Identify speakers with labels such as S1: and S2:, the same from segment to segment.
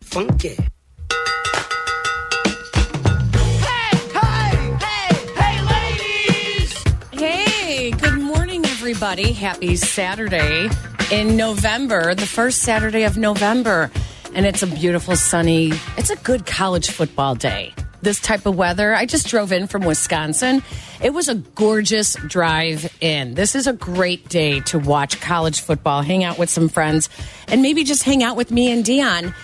S1: funky.
S2: Hey, good morning, everybody. Happy Saturday in November, the first Saturday of November. And it's a beautiful, sunny, it's a good college football day. This type of weather. I just drove in from Wisconsin. It was a gorgeous drive in. This is a great day to watch college football, hang out with some friends, and maybe just hang out with me and Dion.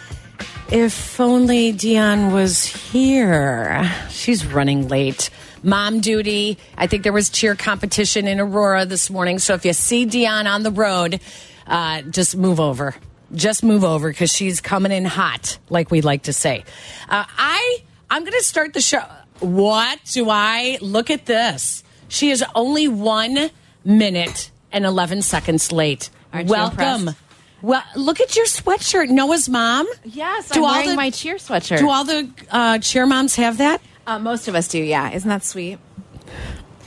S2: If only Dion was here. She's running late. Mom duty. I think there was cheer competition in Aurora this morning. So if you see Dion on the road, uh, just move over. Just move over because she's coming in hot, like we like to say. Uh, I I'm going to start the show. What do I look at this? She is only one minute and eleven seconds late.
S3: Aren't you
S2: Welcome.
S3: impressed?
S2: Well, look at your sweatshirt, Noah's mom.
S3: Yes,
S2: Do
S3: I'm
S2: all
S3: wearing
S2: the-
S3: my cheer sweatshirt.
S2: Do all the uh, cheer moms have that?
S3: uh, most of us do, yeah. Isn't that sweet?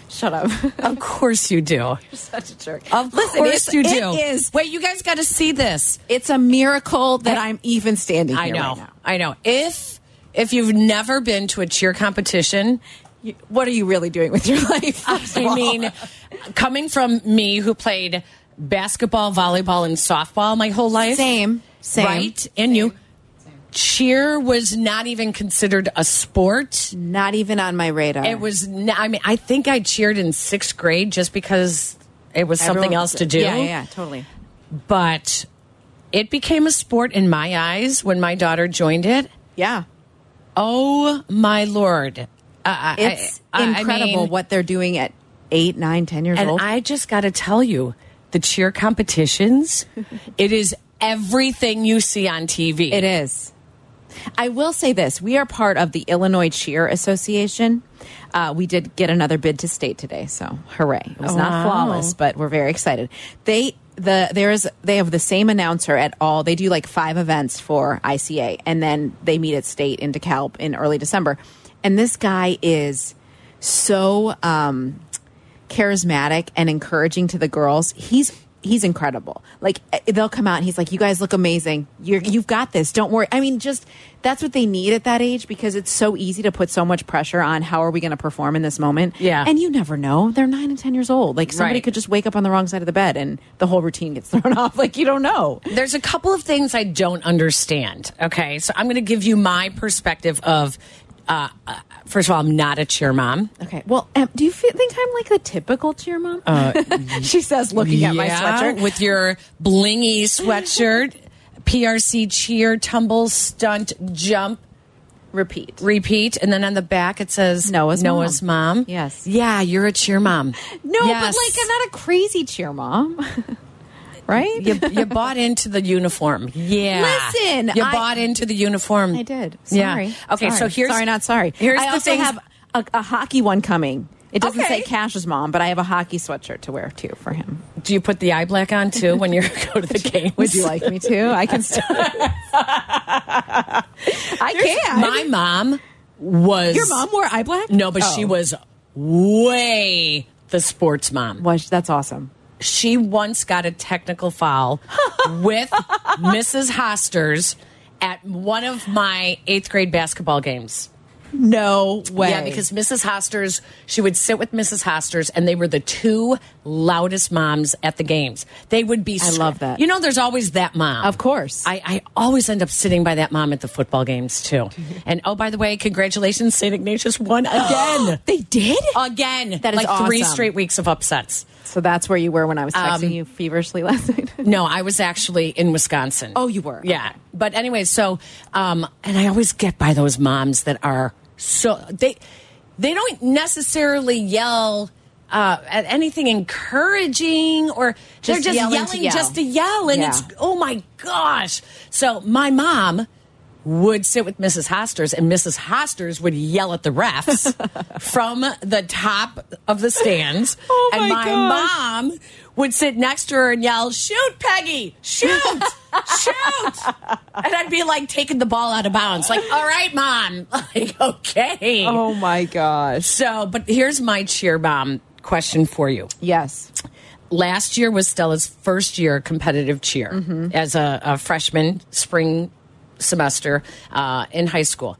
S3: Shut up.
S2: Of course you do.
S3: Such a jerk.
S2: Of
S3: Listen,
S2: course
S3: it's-
S2: you
S3: it
S2: do.
S3: is.
S2: Wait, you guys got to see this.
S3: It's a miracle that I, am even standing here
S2: I know.
S3: right now.
S2: I know. If if you've never been to a cheer competition,
S3: You- what are you really doing with your life? first of
S2: I
S3: all?
S2: mean, coming from me who played basketball, volleyball, and softball my whole life.
S3: Same, same.
S2: Right? And you. Cheer was not even considered a sport.
S3: not even on my radar.
S2: It was. n- I mean, I think I cheered in sixth grade just because it was something
S3: Everyone-
S2: else to do.
S3: Yeah, yeah, yeah, totally.
S2: But it became a sport in my eyes when my daughter joined it.
S3: Yeah.
S2: Oh my lord! Uh,
S3: It's incredible
S2: mean,
S3: what they're doing at eight, nine, ten years
S2: and
S3: old.
S2: I just got to tell you, the cheer competitions. it is everything you see on TV.
S3: It is. I will say this: we are part of the Illinois Cheer Association. Uh, we did get another bid to state today, so hooray! It was not
S2: Wow.
S3: flawless, but we're very excited. They the there is they have the same announcer at all. They do like five events for ICA, and then they meet at state in DeKalb in early December. And this guy is so um, charismatic and encouraging to the girls. He's he's incredible. Like eh, they'll come out and he's like, "You guys look amazing. You're, you've got this. Don't worry." I mean, just that's what they need at that age because it's so easy to put so much pressure on how are we going to perform in this moment.
S2: Yeah.
S3: and you never know. They're nine and ten years old. Like somebody
S2: Right.
S3: could just wake up on the wrong side of the bed and the whole routine gets thrown off. Like you don't know.
S2: There's a couple of things I don't understand. Okay, so I'm going to give you my perspective of. Uh, uh, first of all, I'm not a cheer mom.
S3: Okay. Well, em, do you fe- think I'm like the typical cheer mom? she says, looking at my sweatshirt.
S2: with your blingy sweatshirt, PRC cheer, tumble, stunt, jump,
S3: Repeat.
S2: repeat, and then on the back it says
S3: Noah's mom.
S2: Noah's mom.
S3: Yes.
S2: yeah, you're a cheer mom.
S3: No,
S2: Yes.
S3: but like I'm not a crazy cheer mom, right?
S2: you, you bought into the uniform. Yeah,
S3: Listen,
S2: you
S3: I-
S2: bought into the uniform.
S3: I did.
S2: Yeah.
S3: Sorry.
S2: Okay, so
S3: Sorry.
S2: here's
S3: sorry, not sorry.
S2: Here's
S3: I
S2: the
S3: also
S2: thing.
S3: have a, a hockey one coming. It doesn't say
S2: Okay.
S3: Cash's mom, but I have a hockey sweatshirt to wear too for him.
S2: Do you put the eye black on too when you go to the games?
S3: Would you like me to? I can. Still- I can.
S2: My mom was
S3: Your mom wore eye black.
S2: No, but she
S3: Oh.
S2: was way the sports mom.
S3: Was that's awesome.
S2: she once got a technical foul with Mrs. Hosters at one of my eighth grade basketball games.
S3: No way.
S2: Yeah, because Mrs. Hosters, she would sit with Mrs. Hosters, and they were the two loudest moms at the games. They would be.
S3: I love that.
S2: You know, there's always that mom.
S3: Of course.
S2: I, I always end up sitting by that mom at the football games too. and oh, by the way, congratulations, St. Ignatius won again.
S3: they did.
S2: again.
S3: That is
S2: like three
S3: awesome.
S2: straight weeks of upsets.
S3: so that's where you were when I was texting
S2: Um,
S3: you feverishly last night.
S2: No, I was actually in Wisconsin.
S3: Oh, you were?
S2: Yeah.
S3: Okay.
S2: But anyway, so um and I always get by those moms that are so they they don't necessarily yell uh, at anything encouraging or they're just
S3: yelling
S2: yelling,
S3: to yell.
S2: just to yell and
S3: Yeah.
S2: it's oh my gosh. So my mom would sit with Mrs. Hosters and Mrs. Hosters would yell at the refs from the top of the stands
S3: Oh
S2: and my
S3: my gosh.
S2: mom would sit next to her and yell, "Shoot, Peggy! Shoot! shoot!" And I'd be like taking the ball out of bounds, like, "All right, mom, like, okay."
S3: Oh, my gosh.
S2: So, but here's my cheer bomb question for you.
S3: Yes.
S2: Last year was Stella's first year competitive cheer as a, a freshman spring semester uh, in high school,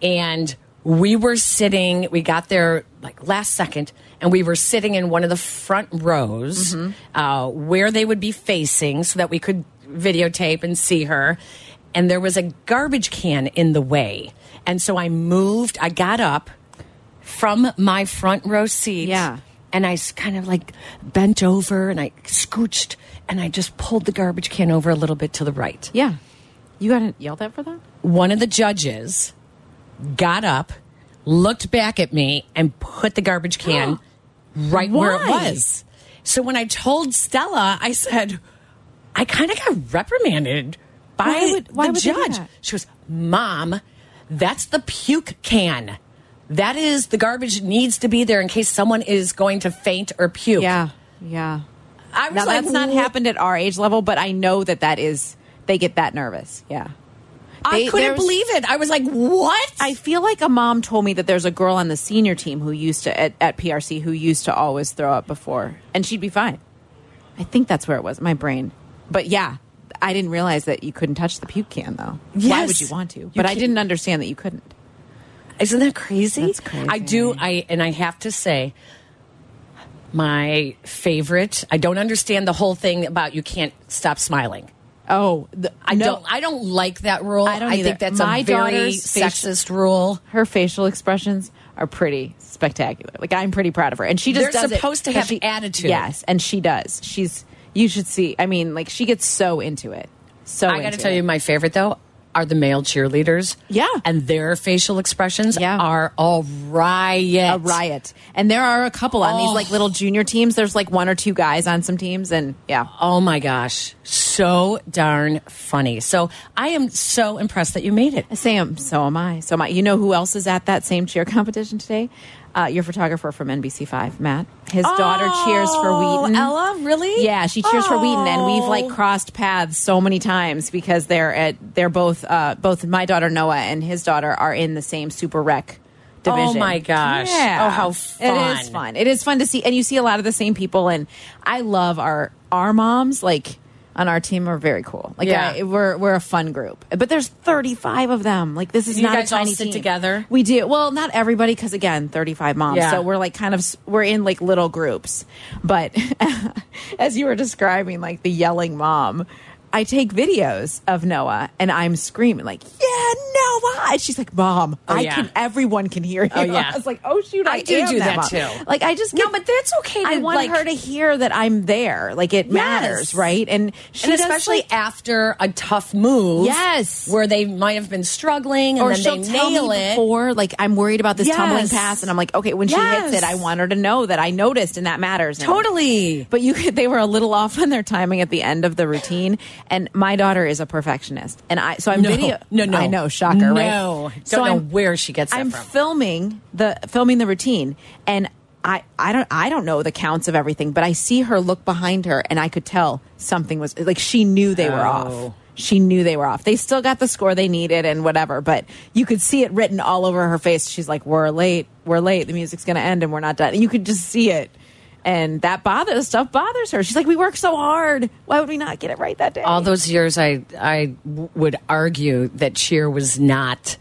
S2: and we were sitting. We got there like last second, and we were sitting in one of the front rows uh, where they would be facing, so that we could videotape and see her. And there was a garbage can in the way, and so I moved. I got up from my front row seat.
S3: Yeah.
S2: And I s- kind of like bent over and I scooched and I just pulled the garbage can over a little bit to the right.
S3: Yeah. You got yelled at for that?
S2: One of the judges got up, looked back at me, and put the garbage can right where it
S3: Why?
S2: was. So when I told Stella, I said, I kind of got reprimanded by
S3: Why would- why
S2: the
S3: would they do
S2: judge.
S3: that?
S2: She goes, Mom, that's the puke can. That is the garbage needs to be there in case someone is going to faint or puke.
S3: Yeah. Yeah.
S2: I was
S3: Now
S2: like,
S3: that's not
S2: "Wha-
S3: happened at our age level, but I know that that is they get that nervous. Yeah.
S2: I
S3: They-
S2: couldn't
S3: there's-
S2: believe it. I was like, what?
S3: I feel like a mom told me that there's a girl on the senior team who used to at, at PRC who used to always throw up before, and she'd be fine. I think that's where it was. My brain, but yeah, I didn't realize that you couldn't touch the puke can though. Why
S2: Yes.
S3: would you want to?
S2: You
S3: But I
S2: can't-
S3: didn't understand that you couldn't.
S2: Isn't that crazy?
S3: That's crazy.
S2: I do. I and I have to say, my favorite. I don't understand the whole thing about you can't stop smiling.
S3: Oh, the,
S2: I
S3: no.
S2: don't. I don't like that rule.
S3: I don't
S2: I
S3: either.
S2: think that's
S3: My
S2: a very
S3: daughter's facial-
S2: sexist rule.
S3: her facial expressions are pretty spectacular. Like I'm pretty proud of her, and she just
S2: They're
S3: does it
S2: supposed to
S3: 'cause
S2: have attitude.
S3: Yes, and she does. She's you should see. I mean, like she gets so into it. So
S2: I got
S3: Oh, into
S2: to tell
S3: it.
S2: you, my favorite though are the male cheerleaders.
S3: Yeah.
S2: and their facial expressions
S3: Yeah.
S2: are all riot.
S3: a riot. And there are a couple on
S2: Oh.
S3: these like little junior teams. There's like one or two guys on some teams, and yeah,
S2: Oh my gosh, so darn funny. So I am so impressed that you made it.
S3: Sam. So am I. So am I. You know who else is at that same cheer competition today? Uh, your photographer from NBC Five, Matt. His daughter cheers for
S2: Oh,
S3: Wheaton.
S2: Ella, really?
S3: Yeah, she cheers for Wheaton, and we've
S2: Oh.
S3: like crossed paths so many times because they're at they're both uh, both my daughter Noah and his daughter are in the same Super Rec division.
S2: Oh, my gosh.
S3: Yeah.
S2: Oh, how
S3: It is
S2: fun.
S3: fun. It is fun to see, and you see a lot of the same people. And I love our our moms like. On our team are very cool. Like
S2: Yeah.
S3: I, we're we're a fun group, but there's 35 of them. Like this is
S2: You
S3: not
S2: guys
S3: a
S2: all
S3: tiny
S2: sit
S3: team.
S2: together?
S3: We do well, not everybody, because again, 35 moms.
S2: Yeah.
S3: So we're like kind of s- we're in like little groups. But as you were describing, like the yelling mom, I take videos of Noah and I'm screaming like, "Yeah, Noah!" And she's like, "Mom, I
S2: Oh, yeah.
S3: can. Everyone can hear you." Oh,
S2: yeah.
S3: I was like, "Oh shoot, I,
S2: I do
S3: am
S2: do that,
S3: mom."
S2: too.
S3: Like I just
S2: No,
S3: get-
S2: but that's okay
S3: I
S2: to,
S3: want
S2: like-
S3: her to hear that I'm there. Like it matters, right? And she
S2: and
S3: does,
S2: especially
S3: like-
S2: after a tough move.
S3: Yes.
S2: Where they might have been struggling and
S3: or she'll
S2: then they
S3: tell
S2: nail
S3: me
S2: it.
S3: before, like I'm worried about this tumbling
S2: Yes.
S3: pass, and I'm like, okay, when she
S2: Yes.
S3: hits it, I want her to know that I noticed, and that matters. And I'm like,
S2: Totally.
S3: But you, could- they were a little off on their timing at the end of the routine. And my daughter is a perfectionist, and I so I'm
S2: No,
S3: video.
S2: no, no.
S3: I know, shocker, right?
S2: No. Don't know where she gets that
S3: I'm
S2: from.
S3: filming the filming the routine, and I I don't I don't know the counts of everything, but I see her look behind her, and I could tell something was like she knew they were
S2: Oh.
S3: off. She knew they were off. They still got the score they needed and whatever, but you could see it written all over her face. She's like, "We're late. We're late. The music's going to end, and we're not done." And you could just see it. And that bothers stuff bothers her. She's like, "We worked so hard. Why would we not get it right that day?"
S2: all those years I I w- would argue that cheer was not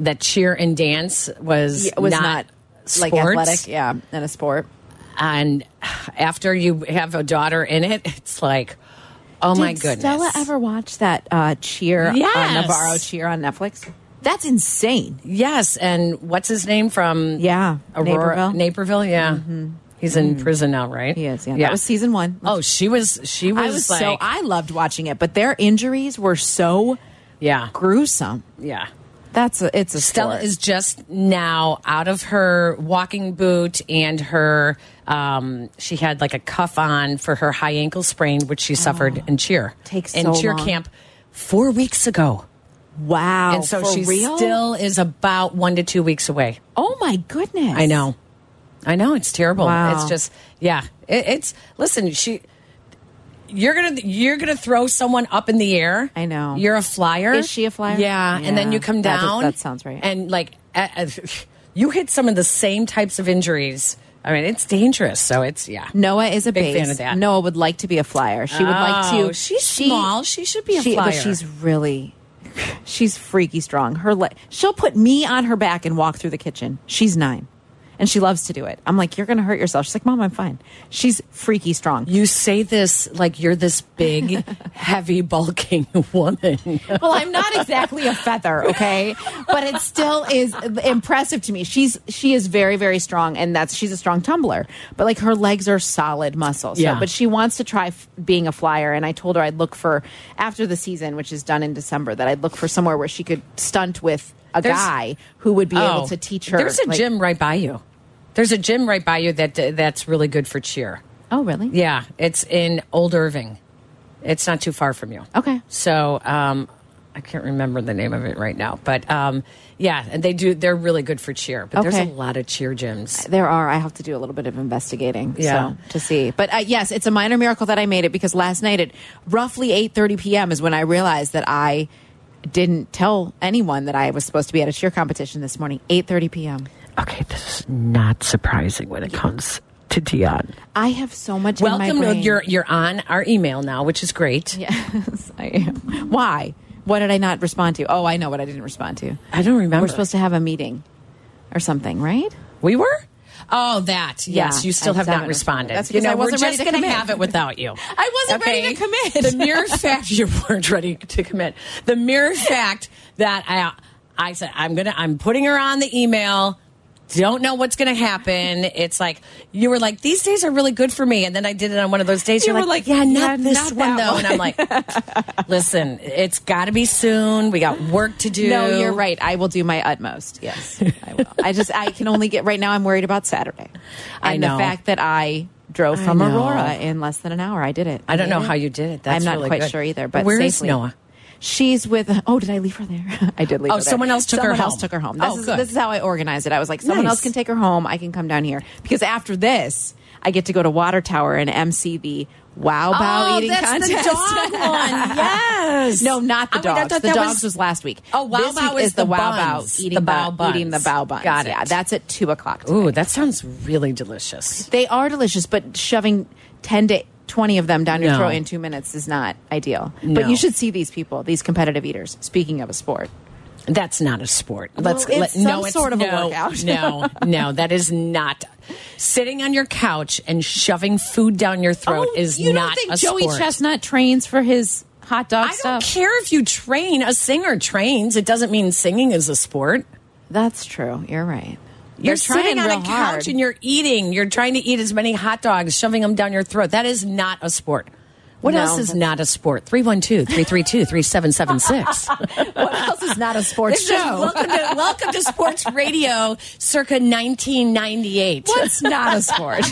S2: that cheer and dance was
S3: it was
S2: not,
S3: not, like
S2: sports.
S3: athletic, yeah, and a sport.
S2: and after you have a daughter in it it's like oh my
S3: Did
S2: goodness
S3: Stella ever watch that uh, cheer
S2: Yes.
S3: on Navarro cheer on Netflix? That's insane.
S2: Yes, and what's his name from?
S3: Yeah,
S2: Aurora,
S3: Naperville. Mm-hmm.
S2: Naperville. Yeah, he's in prison now, right?
S3: He is. Yeah, that was season one.
S2: Oh, she was. She was.
S3: I was
S2: like,
S3: so I loved watching it, but their injuries were so
S2: yeah,
S3: gruesome.
S2: yeah.
S3: That's a, it's a
S2: Stella
S3: sport.
S2: is just now out of her walking boot and her. Um, she had like a cuff on for her high ankle sprain, which she suffered in cheer.
S3: Oh, Takes
S2: in
S3: so
S2: cheer
S3: long.
S2: camp four weeks ago,
S3: wow.
S2: and so
S3: Oh, for
S2: she
S3: real?
S2: still is about one to two weeks away.
S3: Oh my goodness!
S2: I know. I know it's terrible.
S3: Wow.
S2: It's just yeah. It, it's listen, she you're going to you're going to throw someone up in the air.
S3: I know.
S2: You're a flyer.
S3: Is she a flyer?
S2: Yeah, and then
S3: Yeah.
S2: you come
S3: That-
S2: down.
S3: that sounds right.
S2: And like uh, uh, you hit some of the same types of injuries. I mean, it's dangerous. So it's yeah.
S3: Noah is a
S2: Big
S3: base.
S2: fan of that.
S3: Noah would like to be a flyer. She would like
S2: Oh,
S3: to.
S2: she's small. She should be a
S3: she-
S2: flyer.
S3: But she's really. She's freaky strong. Her le- she'll put me on her back and walk through the kitchen. She's nine, and she loves to do it. I'm like, you're gonna hurt yourself. She's like, Mom, I'm fine. She's freaky strong.
S2: You say this like you're this big, heavy, bulking woman.
S3: well, I'm not exactly a feather, okay? But it still is impressive to me. She's she is very very strong and that's she's a strong tumbler. But like her legs are solid muscles. So,
S2: Yeah.
S3: but she wants to try f- being a flyer and I told her I'd look for after the season, which is done in December, that I'd look for somewhere where she could stunt with a
S2: There's-
S3: guy who would be
S2: Oh.
S3: able to teach her.
S2: There's a
S3: like-
S2: gym right by you. There's a gym right by you that that's really good for cheer.
S3: Oh, really?
S2: Yeah, it's in Old Irving. It's not too far from you.
S3: Okay.
S2: So um, I can't remember the name of it right now, but um, yeah, and they do. They're really good for cheer. But there's
S3: Okay.
S2: a lot of cheer gyms.
S3: There are. I have to do a little bit of investigating,
S2: Yeah.
S3: so to see. But uh, yes, it's a minor miracle that I made it because last night at roughly eight thirty p.m. is when I realized that I didn't tell anyone that I was supposed to be at a cheer competition this morning. Eight thirty p.m.
S2: Okay, this is not surprising when it comes to Dion.
S3: I have so much. in
S2: Welcome.
S3: my
S2: to-
S3: brain.
S2: You're you're on our email now, which is great.
S3: Yes, I am. Why? What did I not respond to? Oh, I know what I didn't respond to.
S2: I don't remember.
S3: We're supposed to have a meeting or something, right?
S2: We were? Oh, that. Yes,
S3: Yeah,
S2: you still
S3: I
S2: have
S3: still
S2: not
S3: haven't
S2: responded.
S3: responded. That's
S2: you
S3: because I wasn't
S2: we're
S3: ready
S2: just
S3: to
S2: gonna
S3: commit.
S2: have it without you.
S3: I wasn't ready to commit.
S2: the mere fact you weren't ready to commit. The mere fact that I I said I'm going to I'm putting her on the email. Don't know what's going to happen. It's like you were like these days are really good for me and then I did it on one of those days
S3: You
S2: you're
S3: were like,
S2: like, yeah, not
S3: yeah,
S2: this
S3: not
S2: one
S3: that
S2: though
S3: one.
S2: and I'm like listen, it's got to be soon. We got work to do.
S3: No, you're right. I will do my utmost. Yes, I will. I just I can only get right now. I'm worried about Saturday,
S2: I
S3: and
S2: know.
S3: the fact that I drove from
S2: know.
S3: Aurora in less than an hour. I did it.
S2: I don't
S3: did
S2: know
S3: it.
S2: how you did it. That's
S3: I'm not
S2: really
S3: quite
S2: good.
S3: sure either. But
S2: Where is
S3: safely.
S2: Noah?
S3: She's with. Oh, did I leave her there? I did leave.
S2: Oh,
S3: her there.
S2: someone else took her
S3: Someone else
S2: home.
S3: took her home.
S2: Oh,
S3: This is
S2: good.
S3: this is how I organized it. I was like, someone
S2: Nice.
S3: else can take her home. I can come down here because after this, I get to go to Water Tower and MC the Wow Bow
S2: oh,
S3: eating
S2: that's
S3: contest.
S2: the dog one. Yes.
S3: No, not the
S2: Oh, wait, I
S3: dogs.
S2: thought
S3: the
S2: that
S3: dogs was, last week.
S2: Oh, Wow
S3: this
S2: Wow
S3: week
S2: is
S3: is the,
S2: the
S3: Wow
S2: buns,
S3: Bow eating
S2: the Bow
S3: bu- eating the
S2: buns.
S3: Bow buns.
S2: Got it.
S3: Yeah, that's at two o'clock.
S2: Ooh, that sounds really delicious.
S3: They are delicious, but shoving ten to twenty of them down your
S2: No.
S3: throat in two minutes is not ideal.
S2: No.
S3: But you should see these people, these competitive eaters. Speaking of a sport,
S2: That's not a sport. Let's
S3: Well,
S2: let,
S3: it's some
S2: no, it's,
S3: sort of a
S2: no,
S3: workout.
S2: no, no, that is not. Sitting on your couch and shoving food down your throat
S3: Oh,
S2: is
S3: you
S2: not
S3: don't think
S2: a
S3: Joey
S2: sport.
S3: Chestnut trains for his hot dog
S2: I don't
S3: stuff?
S2: care if you train. A singer trains. It doesn't mean singing is a sport.
S3: That's true. You're right. They're
S2: You're
S3: trying
S2: sitting on a
S3: real
S2: couch
S3: hard.
S2: and you're eating. You're trying to eat as many hot dogs, shoving them down your throat. That is not a sport. What
S3: No,
S2: else is
S3: that's-
S2: not a sport? 312 332 3776.
S3: what else is not a sports
S2: This is
S3: show?
S2: welcome, to, welcome to Sports Radio circa 1998.
S3: What's not a sport?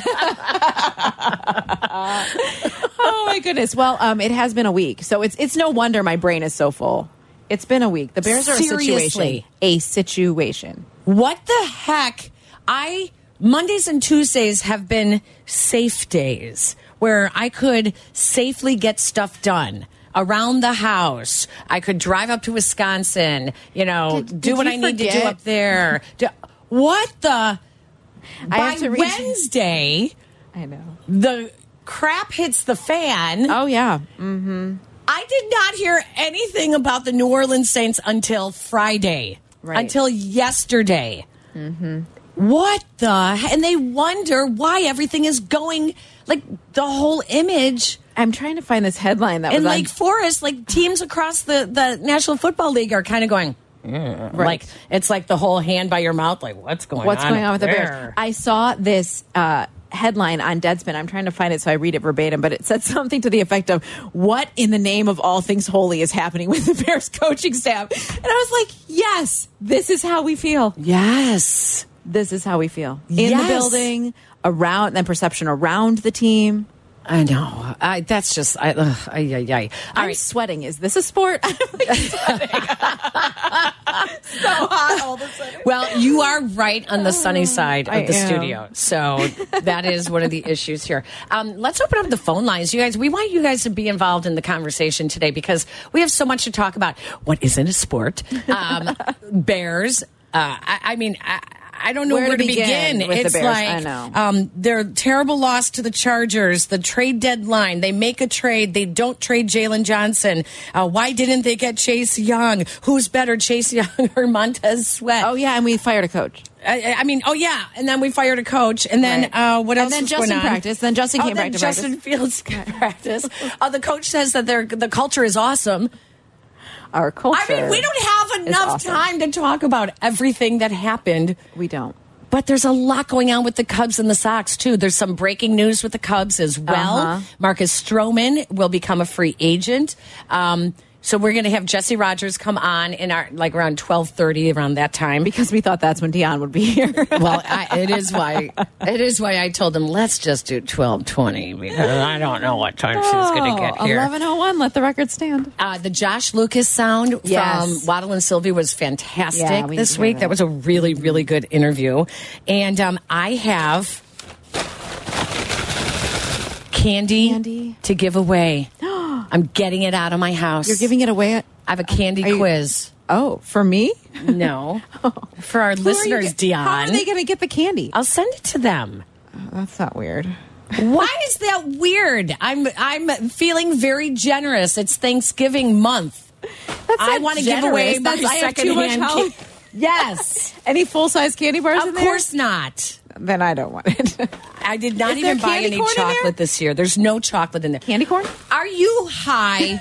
S3: oh my goodness. Well, um, it has been a week, so it's it's no wonder my brain is so full. It's been a week. The Bears are a
S2: Seriously.
S3: situation. A situation.
S2: What the heck? I Mondays and Tuesdays have been safe days where I could safely get stuff done around the house. I could drive up to Wisconsin, you know,
S3: Did-
S2: do
S3: did
S2: what
S3: you
S2: I need to do
S3: forget?
S2: up there. Do- what the
S3: I
S2: by
S3: have to read-
S2: Wednesday
S3: I know.
S2: the crap hits the fan.
S3: Oh yeah.
S2: I did not hear anything about the New Orleans Saints until Friday,
S3: Right.
S2: until yesterday. Mm-hmm. What the? he- And they wonder why everything is going like the whole image
S3: I'm trying to find this headline that
S2: in
S3: was on-
S2: Lake Forest. Like teams across the the National Football League are kind of going. "Mm," Like it's like the whole hand by your mouth. Like what's going
S3: What's
S2: on?
S3: going on with
S2: there?
S3: the Bears? I saw this uh, headline on Deadspin. I'm trying to find it so I read it verbatim, but it said something to the effect of "What in the name of all things holy is happening with the Bears coaching staff?" And I was like, "Yes, this is how we feel.
S2: yes.
S3: This is how we feel in
S2: Yes.
S3: the building, around, and perception around the team."
S2: I know. I, that's just. I. Ugh, ay, ay, ay. All
S3: I'm
S2: right.
S3: sweating. Is this a sport? I'm like sweating. so hot all of a sudden.
S2: Well, you are right on the sunny side of
S3: Oh, I
S2: the
S3: am.
S2: studio. So that is one of the issues here. Um, let's open up the phone lines. You guys, we want you guys to be involved in the conversation today because we have so much to talk about. What isn't a sport? Um, bears. Uh, I, I mean, I, I don't know where, to begin.
S3: with the
S2: it's
S3: Bears.
S2: like
S3: I know.
S2: Um, their terrible loss to the Chargers, the trade deadline. They make a trade. They don't trade Jalen Johnson. Uh, why didn't they get Chase Young? Who's better, Chase Young or Montez Sweat?
S3: Oh yeah, and we fired a coach.
S2: I, I mean, oh yeah, and then we fired a coach, and then
S3: Right.
S2: uh, what
S3: And
S2: else?
S3: then
S2: was
S3: Justin
S2: going on?
S3: practiced, then Justin
S2: oh,
S3: came
S2: then
S3: back to
S2: Justin Fields came practice. uh, the coach says that their the culture is awesome.
S3: Our culture.
S2: I mean, we don't have
S3: is
S2: enough
S3: awesome.
S2: time to talk about everything that happened.
S3: We don't.
S2: But there's a lot going on with the Cubs and the Sox too. There's some breaking news with the Cubs as well.
S3: Uh-huh.
S2: Marcus Stroman will become a free agent. Um, so we're going to have Jesse Rogers come on in our like around twelve thirty around that time.
S3: Because we thought that's when Dion would be here.
S2: Well, I, it is why it is why I told him let's just do twelve twenty because I don't know what time she's going to get here.
S3: Eleven oh one. Let the record stand.
S2: Uh, the Josh Lucas sound
S3: Yes.
S2: from Waddle and Sylvie was fantastic
S3: Yeah, we need
S2: this
S3: to hear
S2: week. That
S3: that.
S2: was a really, really good interview. And um, I have candy,
S3: Candy.
S2: to give away. I'm getting it out of my house.
S3: You're giving it away. At,
S2: I have a candy
S3: Are you-
S2: quiz.
S3: oh, for me.
S2: No. For our
S3: Who are
S2: listeners,
S3: you, get-
S2: Dion.
S3: How are they going to get the candy?
S2: I'll send it to them.
S3: Oh, That's not weird.
S2: Why is that weird? I'm I'm feeling very generous. It's Thanksgiving month.
S3: That's
S2: I
S3: not
S2: want to give
S3: generous.
S2: away my
S3: That's- I have too much
S2: secondhand
S3: help.
S2: ca- Yes,
S3: Any full size candy bars?
S2: of
S3: in there?
S2: course not.
S3: Then I don't want it.
S2: I did not
S3: Is there
S2: even buy
S3: candy
S2: any
S3: corn in there?
S2: chocolate this year. There's no chocolate in there.
S3: candy corn?
S2: Are you high?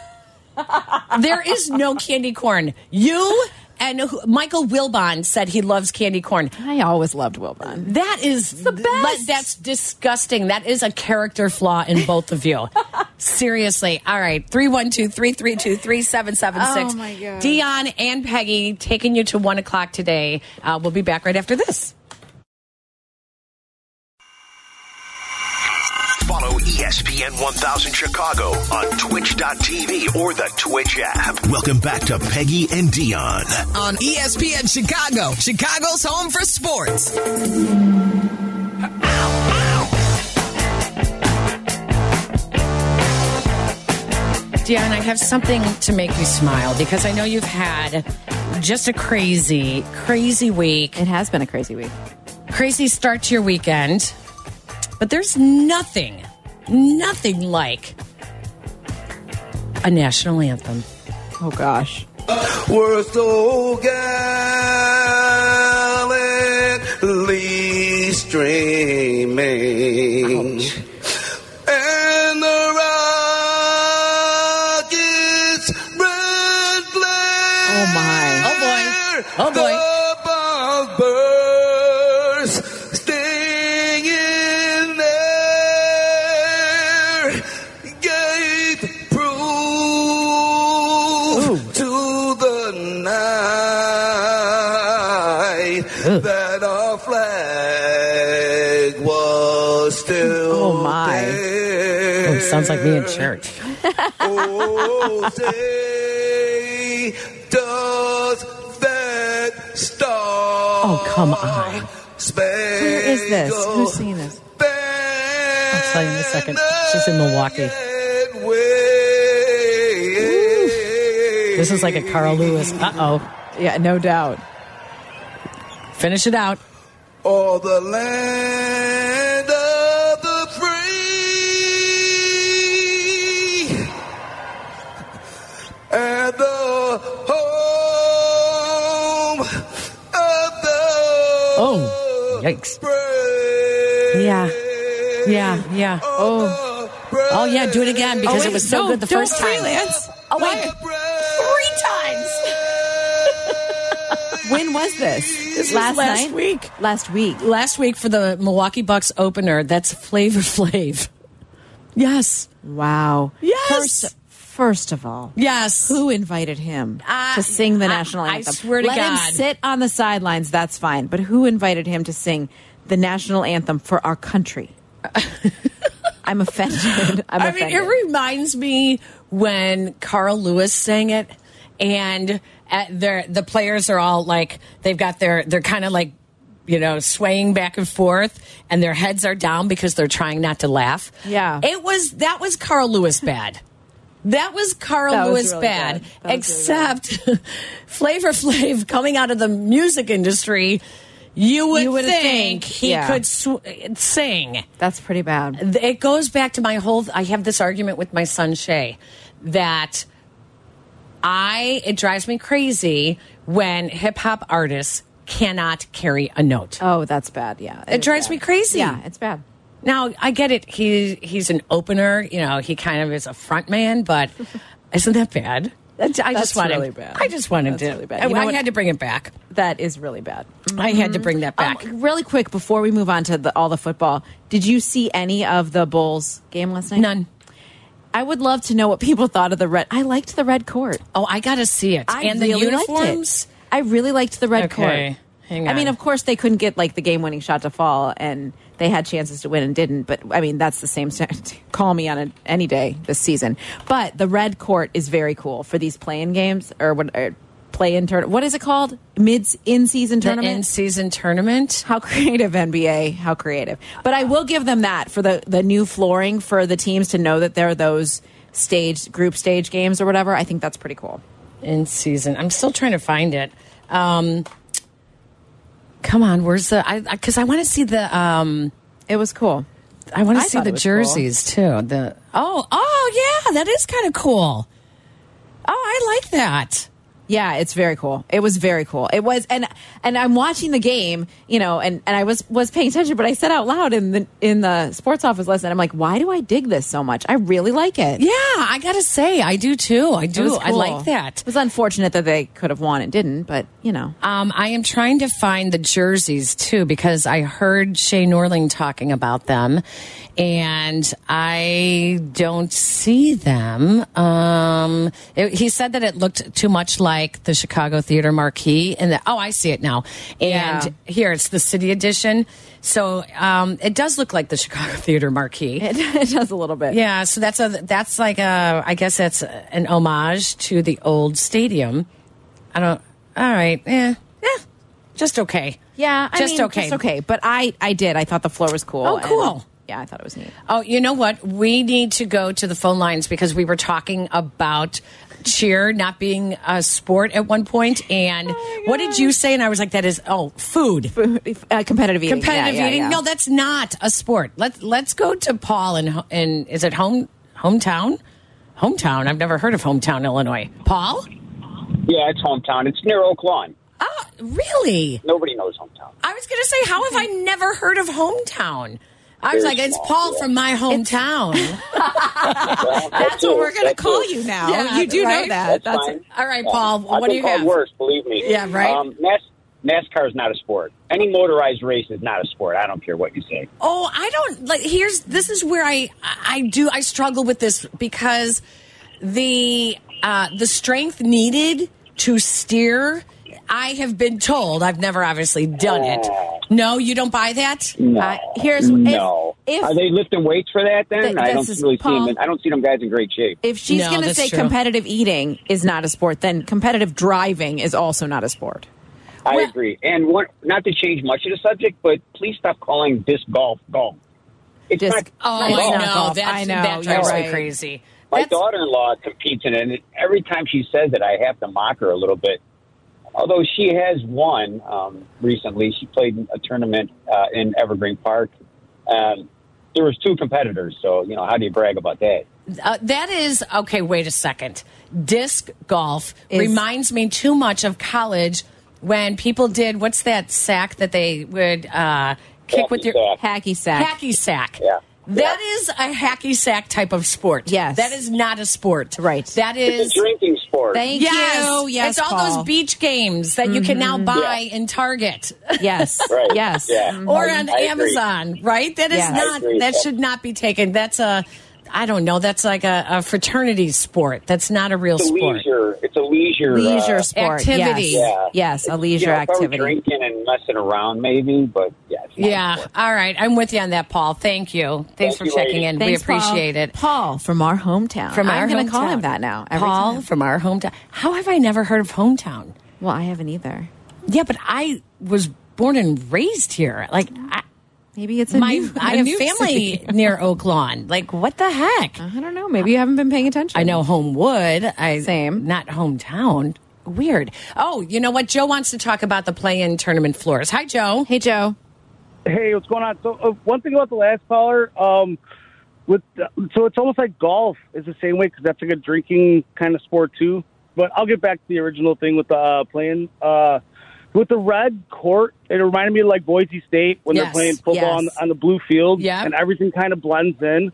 S2: there is no candy corn. You and who- Michael Wilbon said he loves candy corn.
S3: I always loved Wilbon.
S2: That is the
S3: best.
S2: that's disgusting. That is a character flaw in both of you. Seriously. All right. 312 332 3776.
S3: Oh, my God.
S2: Dion and Peggy taking you to one o'clock today. Uh, we'll be back right after this.
S1: Follow E ESPN 1000 Chicago on twitch.tv or the Twitch app. Welcome back to Peggy and Dion.
S4: on ESPN Chicago, Chicago's home for sports.
S2: Dion, I have something to make you smile because I know you've had just a crazy, crazy week.
S3: It has been a crazy week.
S2: crazy start to your weekend, but there's nothing, nothing like a national anthem.
S3: Oh gosh.
S5: We're so gallantly streaming. And the rockets red flare.
S3: Oh, my.
S2: Oh, boy. Oh, boy.
S5: The bombs burst, staying in there. Gave proof to the night that our flag was still
S3: Oh, my.
S5: there.
S2: It Oh, sounds like me in church.
S5: Oh, say, does that star?
S2: Oh, come on.
S3: Where is this? Who's singing this?
S5: I'll
S2: tell you in a second. She's in Milwaukee. This is like a Carl Lewis. Uh oh.
S3: Yeah, no doubt.
S2: Finish it out.
S5: All the land of the free and the home of the
S2: Oh, yikes.
S5: brave.
S2: Yeah. Yeah, yeah.
S5: Oh,
S2: Oh, yeah, do it again because it was so good the first time.
S3: Oh,
S2: wait. Three times.
S3: When was this?
S2: was last
S3: night?
S2: week.
S3: Last week.
S2: Last week for the Milwaukee Bucks opener, that's Flavor Flav. Yes.
S3: Wow.
S2: Yes.
S3: First, first of all,
S2: Yes.
S3: who invited him
S2: Uh,
S3: to sing the
S2: I-
S3: national
S2: I
S3: anthem?
S2: swear to
S3: Let
S2: God.
S3: him sit on the sidelines. That's fine. But who invited him to sing the national anthem for our country? I'm offended. I'm
S2: I mean,
S3: offended.
S2: it reminds me when Carl Lewis sang it, and at their the players are all like they've got their they're kind of like you know swaying back and forth, and their heads are down because they're trying not to laugh.
S3: Yeah.
S2: it was that was Carl Lewis bad. That was Carl
S3: That was
S2: Lewis
S3: really bad. That
S2: bad,
S3: was really
S2: except Flavor Flav coming out of the music industry. you would,
S3: You would think,
S2: think, he
S3: yeah.
S2: could sw- sing.
S3: That's pretty bad.
S2: It goes back to my whole. I have this argument with my son Shay that I it drives me crazy when hip hop artists cannot carry a note.
S3: Oh, that's bad. Yeah.
S2: It
S3: is
S2: drives
S3: bad.
S2: me crazy.
S3: Yeah, it's bad.
S2: Now I get it. He he's an opener. You know, he kind of is a front man, but isn't that bad? That's, I
S3: that's
S2: just wanted.
S3: really bad.
S2: I just wanted
S3: That's
S2: to.
S3: really bad.
S2: I,
S3: You know
S2: I
S3: what-
S2: had to bring it back.
S3: That is really bad.
S2: I had to bring that back.
S3: Um, really quick before we move on to the, all the football, did you see any of the Bulls game last night?
S2: None.
S3: I would love to know what people thought of the red. I liked the red court.
S2: Oh, I got to see it.
S3: I
S2: and
S3: really
S2: the uniforms.
S3: Liked it. I really liked the red
S2: Okay,
S3: court.
S2: hang
S3: I mean,
S2: on.
S3: of course, they couldn't get like the game-winning shot to fall, and they had chances to win and didn't. But I mean, that's the same. s- Call me on a, any day this season. But the red court is very cool for these play-in games or what or play-in turn. What is it called? Mids in-season
S2: The
S3: tournament.
S2: in season tournament.
S3: How creative NBA, how creative. But I will give them that for the the new flooring for the teams to know that there are those stage group stage games or whatever. I think that's pretty cool.
S2: in season. I'm still trying to find it. Um, come on, where's the? I because I, want to see the. Um,
S3: It was cool.
S2: I want
S3: I
S2: to see
S3: thought
S2: the
S3: it was
S2: jerseys too. The oh oh yeah, that is kind of cool. Oh, I like that.
S3: Yeah, it's very cool. It was very cool. It was and and I'm watching the game, you know, and and I was was paying attention, but I said out loud in the in the sports office last night, I'm like, why do I dig this so much? I really like it.
S2: Yeah, I gotta say, I do too. I
S3: It
S2: do.
S3: was
S2: I
S3: cool.
S2: like that.
S3: It was unfortunate that they could have won and didn't, but you know.
S2: Um, I am trying to find the jerseys too because I heard Shay Norling talking about them, and I don't see them. Um, it- he said that it looked too much like the Chicago Theater marquee, and that oh, I see it now. And
S3: Yeah.
S2: here it's the City Edition, so um, it does look like the Chicago Theater marquee.
S3: It, it does a little bit.
S2: Yeah, so that's a that's like a I guess that's an homage to the old stadium. I don't. All right. Yeah. Yeah. Just okay.
S3: Yeah, I
S2: Just
S3: mean,
S2: okay.
S3: Just okay. But I, I did. I thought the floor was cool.
S2: Oh,
S3: and-
S2: cool.
S3: yeah, I thought it was neat.
S2: Oh, you know what? We need to go to the phone lines because we were talking about cheer not being a sport at one point
S3: Oh
S2: and what did you say and i was like that is oh food
S3: Uh, competitive eating.
S2: competitive
S3: Yeah, yeah,
S2: eating
S3: yeah.
S2: no that's not a sport let's let's go to paul and in, in is it home hometown hometown i've never heard of hometown illinois paul
S6: Yeah, it's hometown. It's near Oak Lawn.
S2: Oh, really?
S6: Nobody knows hometown.
S2: I was going to say, how have I never heard of hometown? I was
S6: Very
S2: like, it's
S6: small,
S2: Paul
S6: yeah.
S2: from my hometown.
S6: Well,
S3: That's what we're going to
S6: That's
S3: call
S6: it.
S3: you now.
S2: Yeah,
S3: you do
S2: right?
S3: know that.
S6: That's, fine.
S2: all right, Paul,
S6: I've
S2: what
S6: been
S2: do you
S6: called
S2: have?
S6: Worse, believe me.
S2: Yeah, right?
S6: Um, NAS- NASCAR is not a sport. Any motorized race is not a sport. I don't care what you say.
S2: oh, I don't like. Here's this is where I I do I struggle with this because the uh, the strength needed to steer. I have been told. I've never obviously done it.
S3: Oh.
S2: No, you don't buy that. Uh,
S6: No.
S3: I- here's- if-
S2: oh,
S6: no.
S3: if-
S6: Are they lifting weights for that? Then
S3: Th-
S6: I
S3: this
S6: don't
S3: is-
S6: really
S3: Paul-
S6: see them. I don't see them guys in great shape.
S3: If she's
S2: No,
S3: going to
S2: that's
S3: say
S2: true.
S3: competitive eating is not a sport, then competitive driving is also not a sport.
S6: I
S2: Well-
S6: agree. And what, not to change much of the subject, but please stop calling disc golf golf. It's
S3: Disc-
S6: not, it's
S2: Oh,
S6: not
S3: It's
S2: I
S6: golf.
S3: not
S2: know.
S3: golf.
S2: That's,
S3: I know,
S2: That
S3: you're
S2: drives me
S3: right.
S2: crazy.
S6: My
S2: That's-
S6: daughter-in-law competes in it, and every time she says it, I have to mock her a little bit. Although she has won um, recently, she played in a tournament uh, in Evergreen Park. Um, there was two competitors, so you know how do you brag about that?
S2: Uh, that is okay. Wait a second. Disc golf
S3: Is-
S2: reminds me too much of college when people did what's that sack that they would uh, kick with your
S6: Hacky
S3: Hacky sack.
S2: hacky sack.
S6: Yeah.
S2: That
S6: Yeah.
S2: is a hacky sack type of sport.
S3: Yes.
S2: That is not a sport.
S3: Right.
S2: That
S6: It's
S2: is.
S6: a drinking sport.
S3: Thank
S2: Yes.
S3: you. Yes,
S2: It's all
S3: Paul. Mm-hmm.
S2: those beach games that you can now buy
S6: Yeah.
S2: in Target
S3: Yes.
S6: Right.
S3: Yes.
S6: Yeah.
S3: Mhm.
S2: Mm-hmm. or
S6: I-
S2: on
S6: I agree.
S2: Amazon, right? That is
S3: Yeah. I
S2: not.
S6: agree.
S2: That should not be taken. That's a. I don't know. That's like a, a fraternity sport. That's not a real
S6: it's a
S2: sport.
S6: leisure. It's a leisure.
S3: Leisure
S6: uh,
S3: sport.
S2: activity.
S3: Yes.
S6: yeah.
S3: Yes, a
S6: It's,
S3: leisure
S6: you know, if I were
S3: activity.
S6: Drinking and messing around, maybe, but yeah. It's not a
S2: Yeah.
S6: sport.
S2: All right. I'm with you on that, Paul. Thank you. Thanks
S6: Thank
S2: for
S6: you,
S2: checking
S6: ladies.
S2: in.
S3: Thanks,
S2: we appreciate
S3: Paul.
S2: it.
S3: Paul from our hometown.
S2: From our
S3: I'm going to call
S2: hometown.
S3: him that now. every
S2: Paul
S3: time.
S2: from our hometown. How have I never heard of hometown?
S3: Well, I haven't either.
S2: Yeah, but I was born and raised here. Like I,
S3: Maybe it's a
S2: my
S3: new,
S2: I
S3: a
S2: have
S3: new
S2: family
S3: city.
S2: near Oak Lawn. Like what the heck?
S3: I don't know. Maybe you haven't been paying attention.
S2: I know Homewood. I
S3: Same.
S2: not hometown. Weird. Oh, you know what? Joe wants to talk about the play-in tournament floors. Hi, Joe.
S7: Hey, Joe.
S8: Hey, what's going on? So, uh, one thing about the last caller, um, with so it's almost like golf is the same way because that's like a drinking kind of sport too. But I'll get back to the original thing with the uh, playing uh, with the red court. It reminded me of like Boise State when
S2: Yes,
S8: they're playing football on,
S2: yes.
S8: on the blue field,
S2: Yep.
S8: and everything kind of blends in.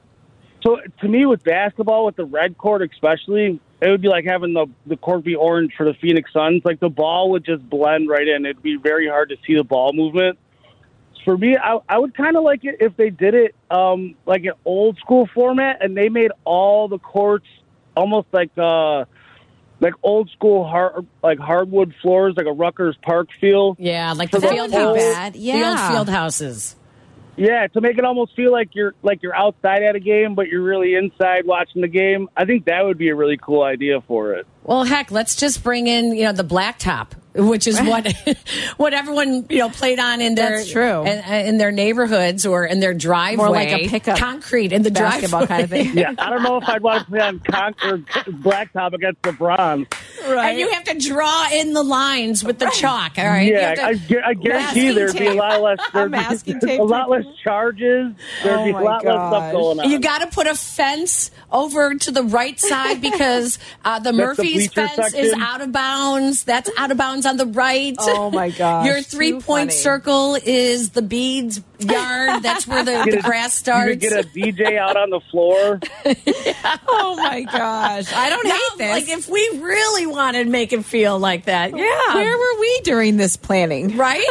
S8: So to me, with basketball, with the red court especially, it would be like having the the court be orange for the Phoenix Suns. Like the ball would just blend right in. It'd be very hard to see the ball movement for me, I, I would kind of like it if they did it um, like an old school format, and they made all the courts almost like uh, like old school hard like hardwood floors, like a Rutgers Park feel.
S2: Yeah, like the
S8: That
S2: field
S8: wouldn't
S2: house.
S8: be
S7: bad.
S2: The
S7: Yeah.
S2: old field houses.
S8: Yeah, to make it almost feel like you're like you're outside at a game, but you're really inside watching the game. I think that would be a really cool idea for it.
S2: Well, heck, let's just bring in you know the blacktop, which is what what everyone you know played on in their
S7: That's true.
S2: in, in their neighborhoods or in their driveway,
S7: like a pickup
S2: concrete in the
S7: basketball
S2: driveway.
S7: kind of thing.
S8: Yeah, I don't know if I'd want to play on concrete blacktop against LeBron.
S7: Right.
S2: And you have to draw in the lines with the chalk. All right. You
S8: Yeah,
S2: have to-
S8: I, gu- I guarantee
S7: Masking
S8: there'd be a
S7: tape.
S8: lot less. There'd
S7: Masking
S8: be
S7: tape
S8: a lot less charges. There'd
S7: Oh
S8: be a
S7: my
S8: lot less
S7: gosh.
S8: stuff going on.
S2: You got to put a fence over to the right side because uh, the Murphy's
S8: bleacher
S2: fence is
S8: section.
S2: out of bounds. That's out of bounds on the right.
S7: Oh, my gosh.
S2: Your
S7: Too
S2: three point
S7: funny.
S2: circle is the beads yard. That's where the, the
S8: Get a-
S2: grass
S8: you
S2: starts.
S8: could get a DJ out on the floor.
S7: Oh my gosh. I don't
S2: Now, Like if we really wanted to make it feel like that, yeah,
S3: Where were we during this planning?
S2: right?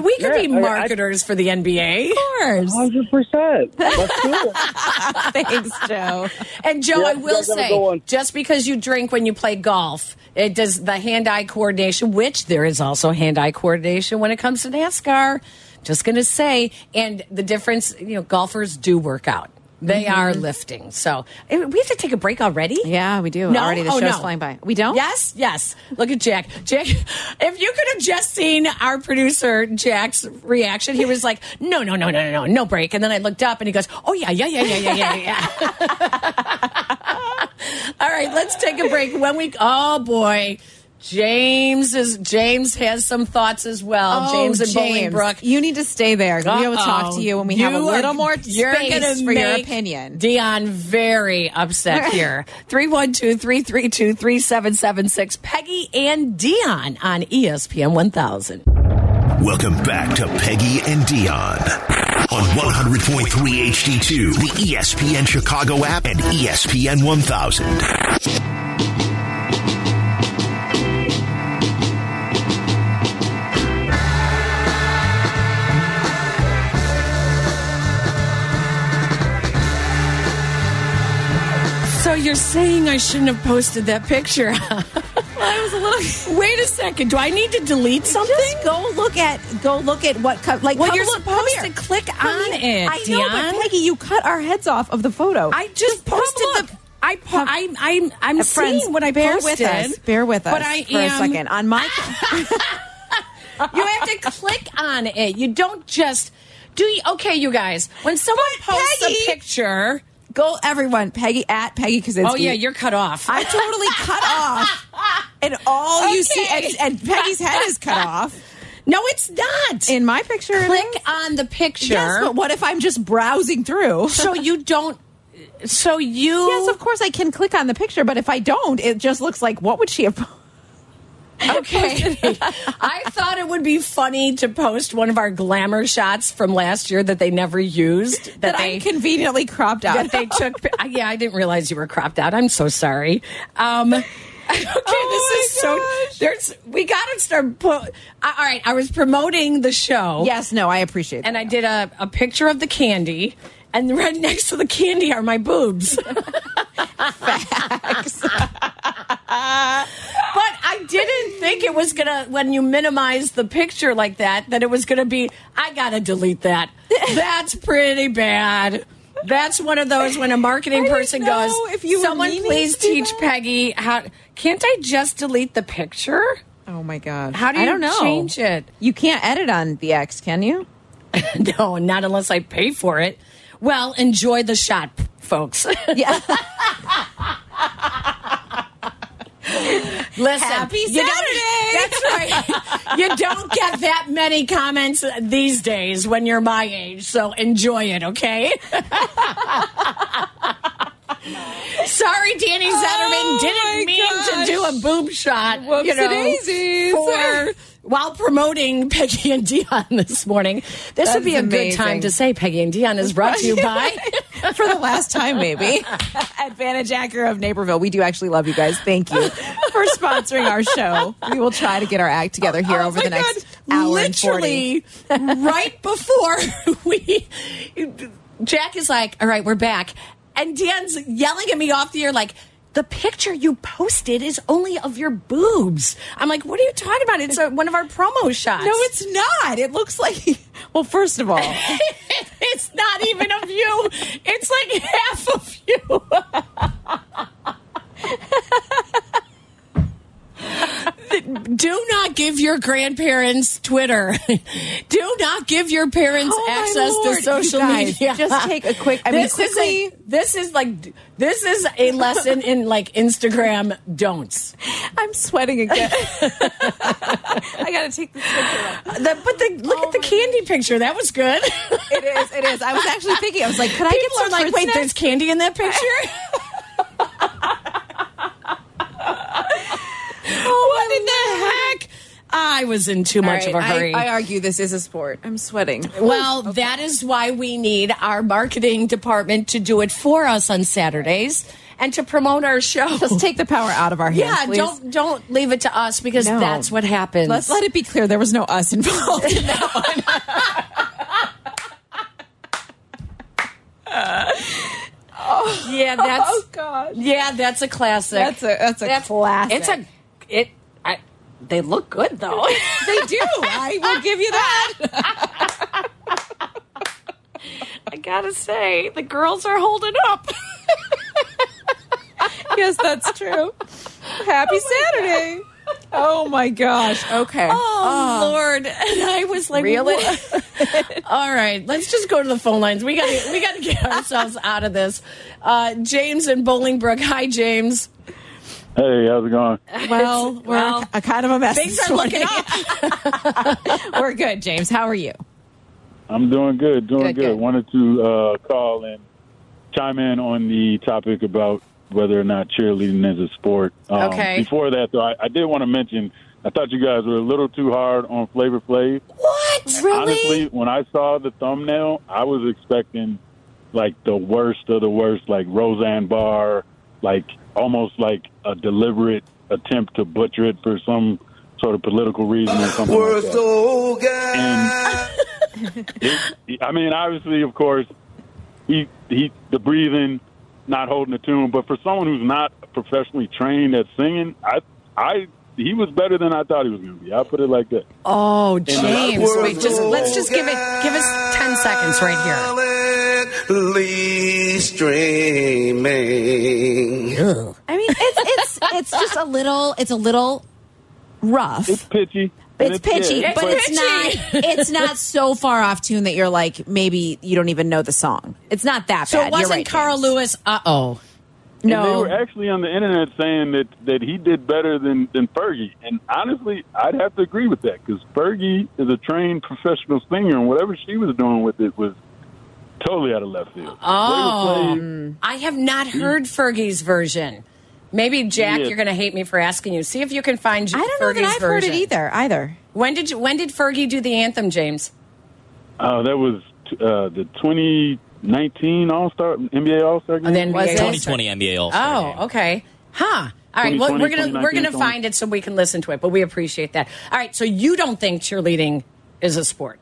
S2: We could be
S8: Yeah, I- I-
S2: marketers for the NBA.
S3: Of
S2: Oh,
S3: course.
S8: Hundred percent. Let's do it.
S3: Thanks, Joe.
S2: And Joe,
S8: Yeah,
S2: I will
S8: you guys have a good
S2: say,
S8: one.
S2: just because you drink when you play golf, it does the hand-eye coordination, which there is also hand-eye coordination when it comes to NASCAR. Just going to say, and the difference, you know, golfers do work out. They are lifting. So eh, we have to take a break already.
S7: Yeah, we do.
S2: No?
S7: Already the
S2: Oh,
S7: show's
S2: no.
S7: flying by. We don't?
S2: Yes, yes. Look at Jack. Jack, if you could have just seen our producer Jack's reaction, he was like, "No, no, no, no, no, no, no break." And then I looked up, and he goes, "Oh yeah, yeah, yeah, yeah, yeah, yeah, yeah." All right, let's take a break. When we, oh boy. James is James has some thoughts as well.
S3: Oh,
S2: James and
S3: James,
S2: Bolingbrook.
S3: You need to stay there. We'll be able to talk to you when we have a
S2: You are-
S3: little more
S2: you're gonna
S3: space for your
S2: make
S3: opinion.
S2: Dion very upset here. 312-332-3776. Peggy and Dion on E ESPN 1000.
S1: Welcome back to Peggy and Dion on 100.3 HD2, the E ESPN Chicago app and E ESPN 1000.
S2: So you're saying I shouldn't have posted that picture? I was a little Wait a second. Do I need to delete something?
S3: Just go look at go look at what co- like
S2: well,
S3: come
S2: you're
S3: look, come
S2: supposed
S3: here.
S2: to click
S3: Come
S2: on
S3: here.
S2: it,
S3: I know,
S2: Dion.
S3: but Peggy, you cut our heads off of the photo.
S2: I just
S3: come
S2: posted
S3: look.
S2: the. I po- I'm I'm I'm
S3: Uh, friends,
S2: seeing what I
S3: bear
S2: posted.
S3: with us. Bear with us
S2: But I
S3: for
S2: am
S3: a second on my.
S2: You have to click on it. You don't just do. You, okay, you guys. When someone
S3: But
S2: posts
S3: Peggy-
S2: a picture,
S3: go everyone, Peggy at Peggy Kaczynski.
S2: oh yeah, you're cut off.
S3: I'm totally cut off, and all you see,
S2: Okay.
S3: and, and Peggy's head is cut off
S2: no, it's not.
S3: in my picture. it
S2: click
S3: is.
S2: on the picture.
S3: Yes, but what if I'm just browsing through?
S2: so you don't. So you.
S3: Yes, of course I can click on the picture, but if I don't, it just looks like what would she have?
S2: Okay. I thought it would be funny to post one of our glamour shots from last year that they never used. That,
S3: That
S2: they
S3: I conveniently cropped out.
S2: that they took. I- yeah, I didn't realize you were cropped out. I'm so sorry. Um, okay,
S3: Oh
S2: this is so. There's we got to start. Po- I- all right, I was promoting the show.
S3: yes, no, I appreciate that.
S2: and I did a, a picture of the candy, and right next to the candy are my boobs. Facts. but I didn't think it was gonna when you minimize the picture like that that it was gonna be. I gotta delete that. That's pretty bad. That's one of those when a marketing
S3: didn't
S2: person
S3: know
S2: goes,
S3: if you were
S2: "Someone
S3: meaning
S2: please
S3: to do
S2: teach
S3: that."
S2: Peggy how." Can't I just delete the picture?
S3: oh my gosh,
S2: How do
S3: I
S2: you
S3: don't know.
S2: change it?
S3: You can't edit on the X, can you?
S2: No, not unless I pay for it. Well, enjoy the shot, folks.
S3: Yeah.
S2: Listen,
S3: Happy
S2: you don't-
S3: Saturday!
S2: that's right. you don't get that many comments these days when you're my age, so enjoy it, okay? Sorry, Danny Zetterman didn't mean
S3: Oh gosh.
S2: to do a boob shot. you
S3: Whoops-a
S2: know,
S3: daisies.
S2: for- while promoting Peggy and Dion this morning. This
S3: That's
S2: would be a good time
S3: amazing.
S2: to say Peggy and Dion is brought to you by.
S3: for the last time, maybe. Advantage Actor of Naperville. We do actually love you guys. Thank you for sponsoring our show. We will try to get our act together here over
S2: Oh my
S3: the next hour and 40.
S2: Literally, right before we, Jack is like, "All right, we're back," and Dan's yelling at me off the air, like. The picture you posted is only of your boobs. I'm like, what are you talking about? It's a, one of our promo shots.
S3: No, it's not. It looks like, well, first of all,
S2: it's not even of you. It's like half of you. Do not give your grandparents Twitter. Do not give your parents
S3: Oh, my
S2: access
S3: Lord,
S2: to social
S3: you guys,
S2: media.
S3: just take a quick- I mean,
S2: this Is
S3: quickly-
S2: a, this is like this is a lesson in like Instagram don'ts.
S3: I'm sweating again. I got to take this picture.
S2: The, but the, look at the candy picture. That was good.
S3: It is. It is. I was actually thinking, I was like, could I get
S2: People are
S3: some
S2: like,
S3: fruit
S2: wait,
S3: snacks?"
S2: there's candy in that picture. what in the heck? I was in too
S3: Oh, All
S2: much of a
S3: right, I-
S2: hurry.
S3: I argue this is a sport. I'm sweating.
S2: well, that is why we need our marketing department to do it for us on Saturdays and to promote our show.
S3: Let's take the power out of our hands.
S2: yeah,
S3: please.
S2: don't don't leave it to us because
S3: No.
S2: that's what happens.
S3: Let's let it be clear there was no us involved in that one.
S2: yeah, that's
S3: Oh, gosh.
S2: yeah, that's a classic.
S3: That's a that's a classic.
S2: It's a it. I, they look good though.
S3: they do. I will give you that.
S2: I gotta say, the girls are holding up.
S3: yes, that's true. Happy Saturday. Oh my gosh. Okay.
S2: Oh, Lord! And I was like,
S3: Reel it
S2: "What?" All right, let's just go to the phone lines. We got to we got to get ourselves out of this. Uh, James in Bolingbrook. Hi, James.
S8: Hey, how's it going?
S3: well, we're
S2: well,
S3: a kind of a mess.
S2: Things
S3: this
S2: are looking
S3: morning.
S2: up.
S3: we're good, James. How are you?
S8: I'm doing good, doing
S3: Good,
S8: good.
S3: good.
S8: Wanted to uh, call and chime in on the topic about whether or not cheerleading is a sport. Um,
S2: Okay.
S8: Before that, though, I, I did want to mention I thought you guys were a little too hard on Flavor Flav.
S2: What? Really?
S8: Honestly, when I saw the thumbnail, I was expecting like the worst of the worst, like Roseanne Barr, like almost like a deliberate attempt to butcher it for some sort of political reason or something. like
S5: Worst
S8: that.
S5: old guy.
S8: And it, I mean, obviously, of course, he he the breathing, not holding the tune. But for someone who's not professionally trained at singing, I I he was better than I thought he was going to be. I will put it like that. oh,
S2: oh, James!
S5: Worst
S2: Wait, just let's
S5: old
S2: just give it give us ten seconds right here.
S5: Silently streaming.
S3: I mean, it's it's it's just a little it's a little rough.
S8: It's pitchy. and
S3: It's pitchy,
S8: yeah,
S3: but it's not. It's not so far off tune that you're like maybe you don't even know the song. It's not that
S2: So
S3: bad.
S2: it
S3: You're
S2: wasn't
S3: right,
S2: Carl
S3: James.
S2: Lewis. Uh oh.
S8: And they
S3: No,
S8: were actually on the internet saying that, that he did better than, than Fergie. And honestly, I'd have to agree with that because Fergie is a trained professional singer, and whatever she was doing with it was totally out of left field.
S2: Oh.
S8: Flavor Flav-
S2: I have not heard Fergie's version. Maybe Jack,
S8: Yeah.
S2: you're going to hate me for asking you. See if you can find
S3: I don't know that
S2: Fergie's
S3: I've heard it
S2: version.
S3: either. Either.
S2: When did you, when did Fergie do the anthem, James?
S8: Oh, that was uh, the 2019 All Star NBA All Star game.
S2: And then
S3: Was it?
S9: 2020 NBA All Star.
S2: Oh, okay. Huh. All right. Well, we're
S8: 2020,
S2: gonna we're gonna
S8: 2019,
S2: find it so we can listen to it. But we appreciate that. All right. So you don't think cheerleading is a sport?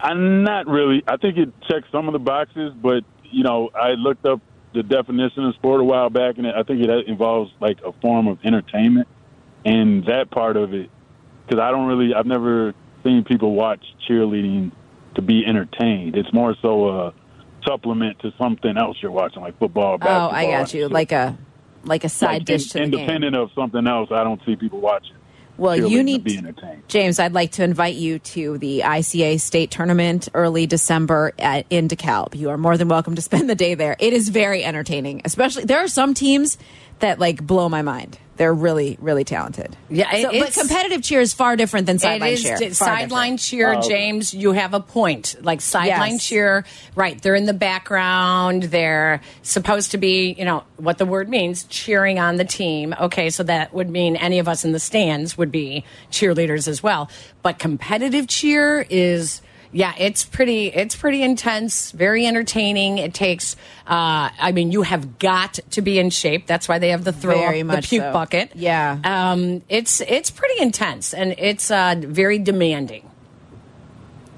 S8: I'm not really. I think it checks some of the boxes, but you know, I looked up the definition of sport a while back, and I think it involves like a form of entertainment, and that part of it, because I don't really, I've never seen people watch cheerleading to be entertained. It's more so a supplement to something else you're watching, like football.
S3: Oh,
S8: Basketball,
S3: I got you.
S8: and
S3: Like a like a
S8: like,
S3: side dish to
S8: in-
S3: the game.
S8: independent of something else. I don't see people watching.
S3: Well,
S8: cheerleading
S3: you
S8: to be
S3: need
S8: entertained.
S3: James. I'd like to invite you to the ICA state tournament early December at, in DeKalb. You are more than welcome to spend the day there. It is very entertaining. Especially there are some teams
S10: that like blow my mind.
S3: They're really, really talented.
S2: Yeah, it-
S3: So- but
S2: it's-
S3: competitive cheer is far different than
S2: It
S3: sideline
S2: is
S3: cheer.
S2: di-
S3: Far
S2: sideline cheer,
S3: Oh, okay.
S2: James. You have a point. Like sideline
S3: Yes.
S2: cheer, right? They're in the background. They're supposed to be, you know, what the word means, cheering on the team. Okay, so that would mean any of us in the stands would be cheerleaders as well. But competitive cheer is. Yeah, it's pretty. It's pretty intense. Very entertaining. It takes. Uh, I mean, you have got to be in shape. That's why they have the throw
S3: Very
S2: up
S3: much
S2: the puke
S3: so.
S2: bucket. Yeah, um, it's it's pretty intense and it's uh, very demanding.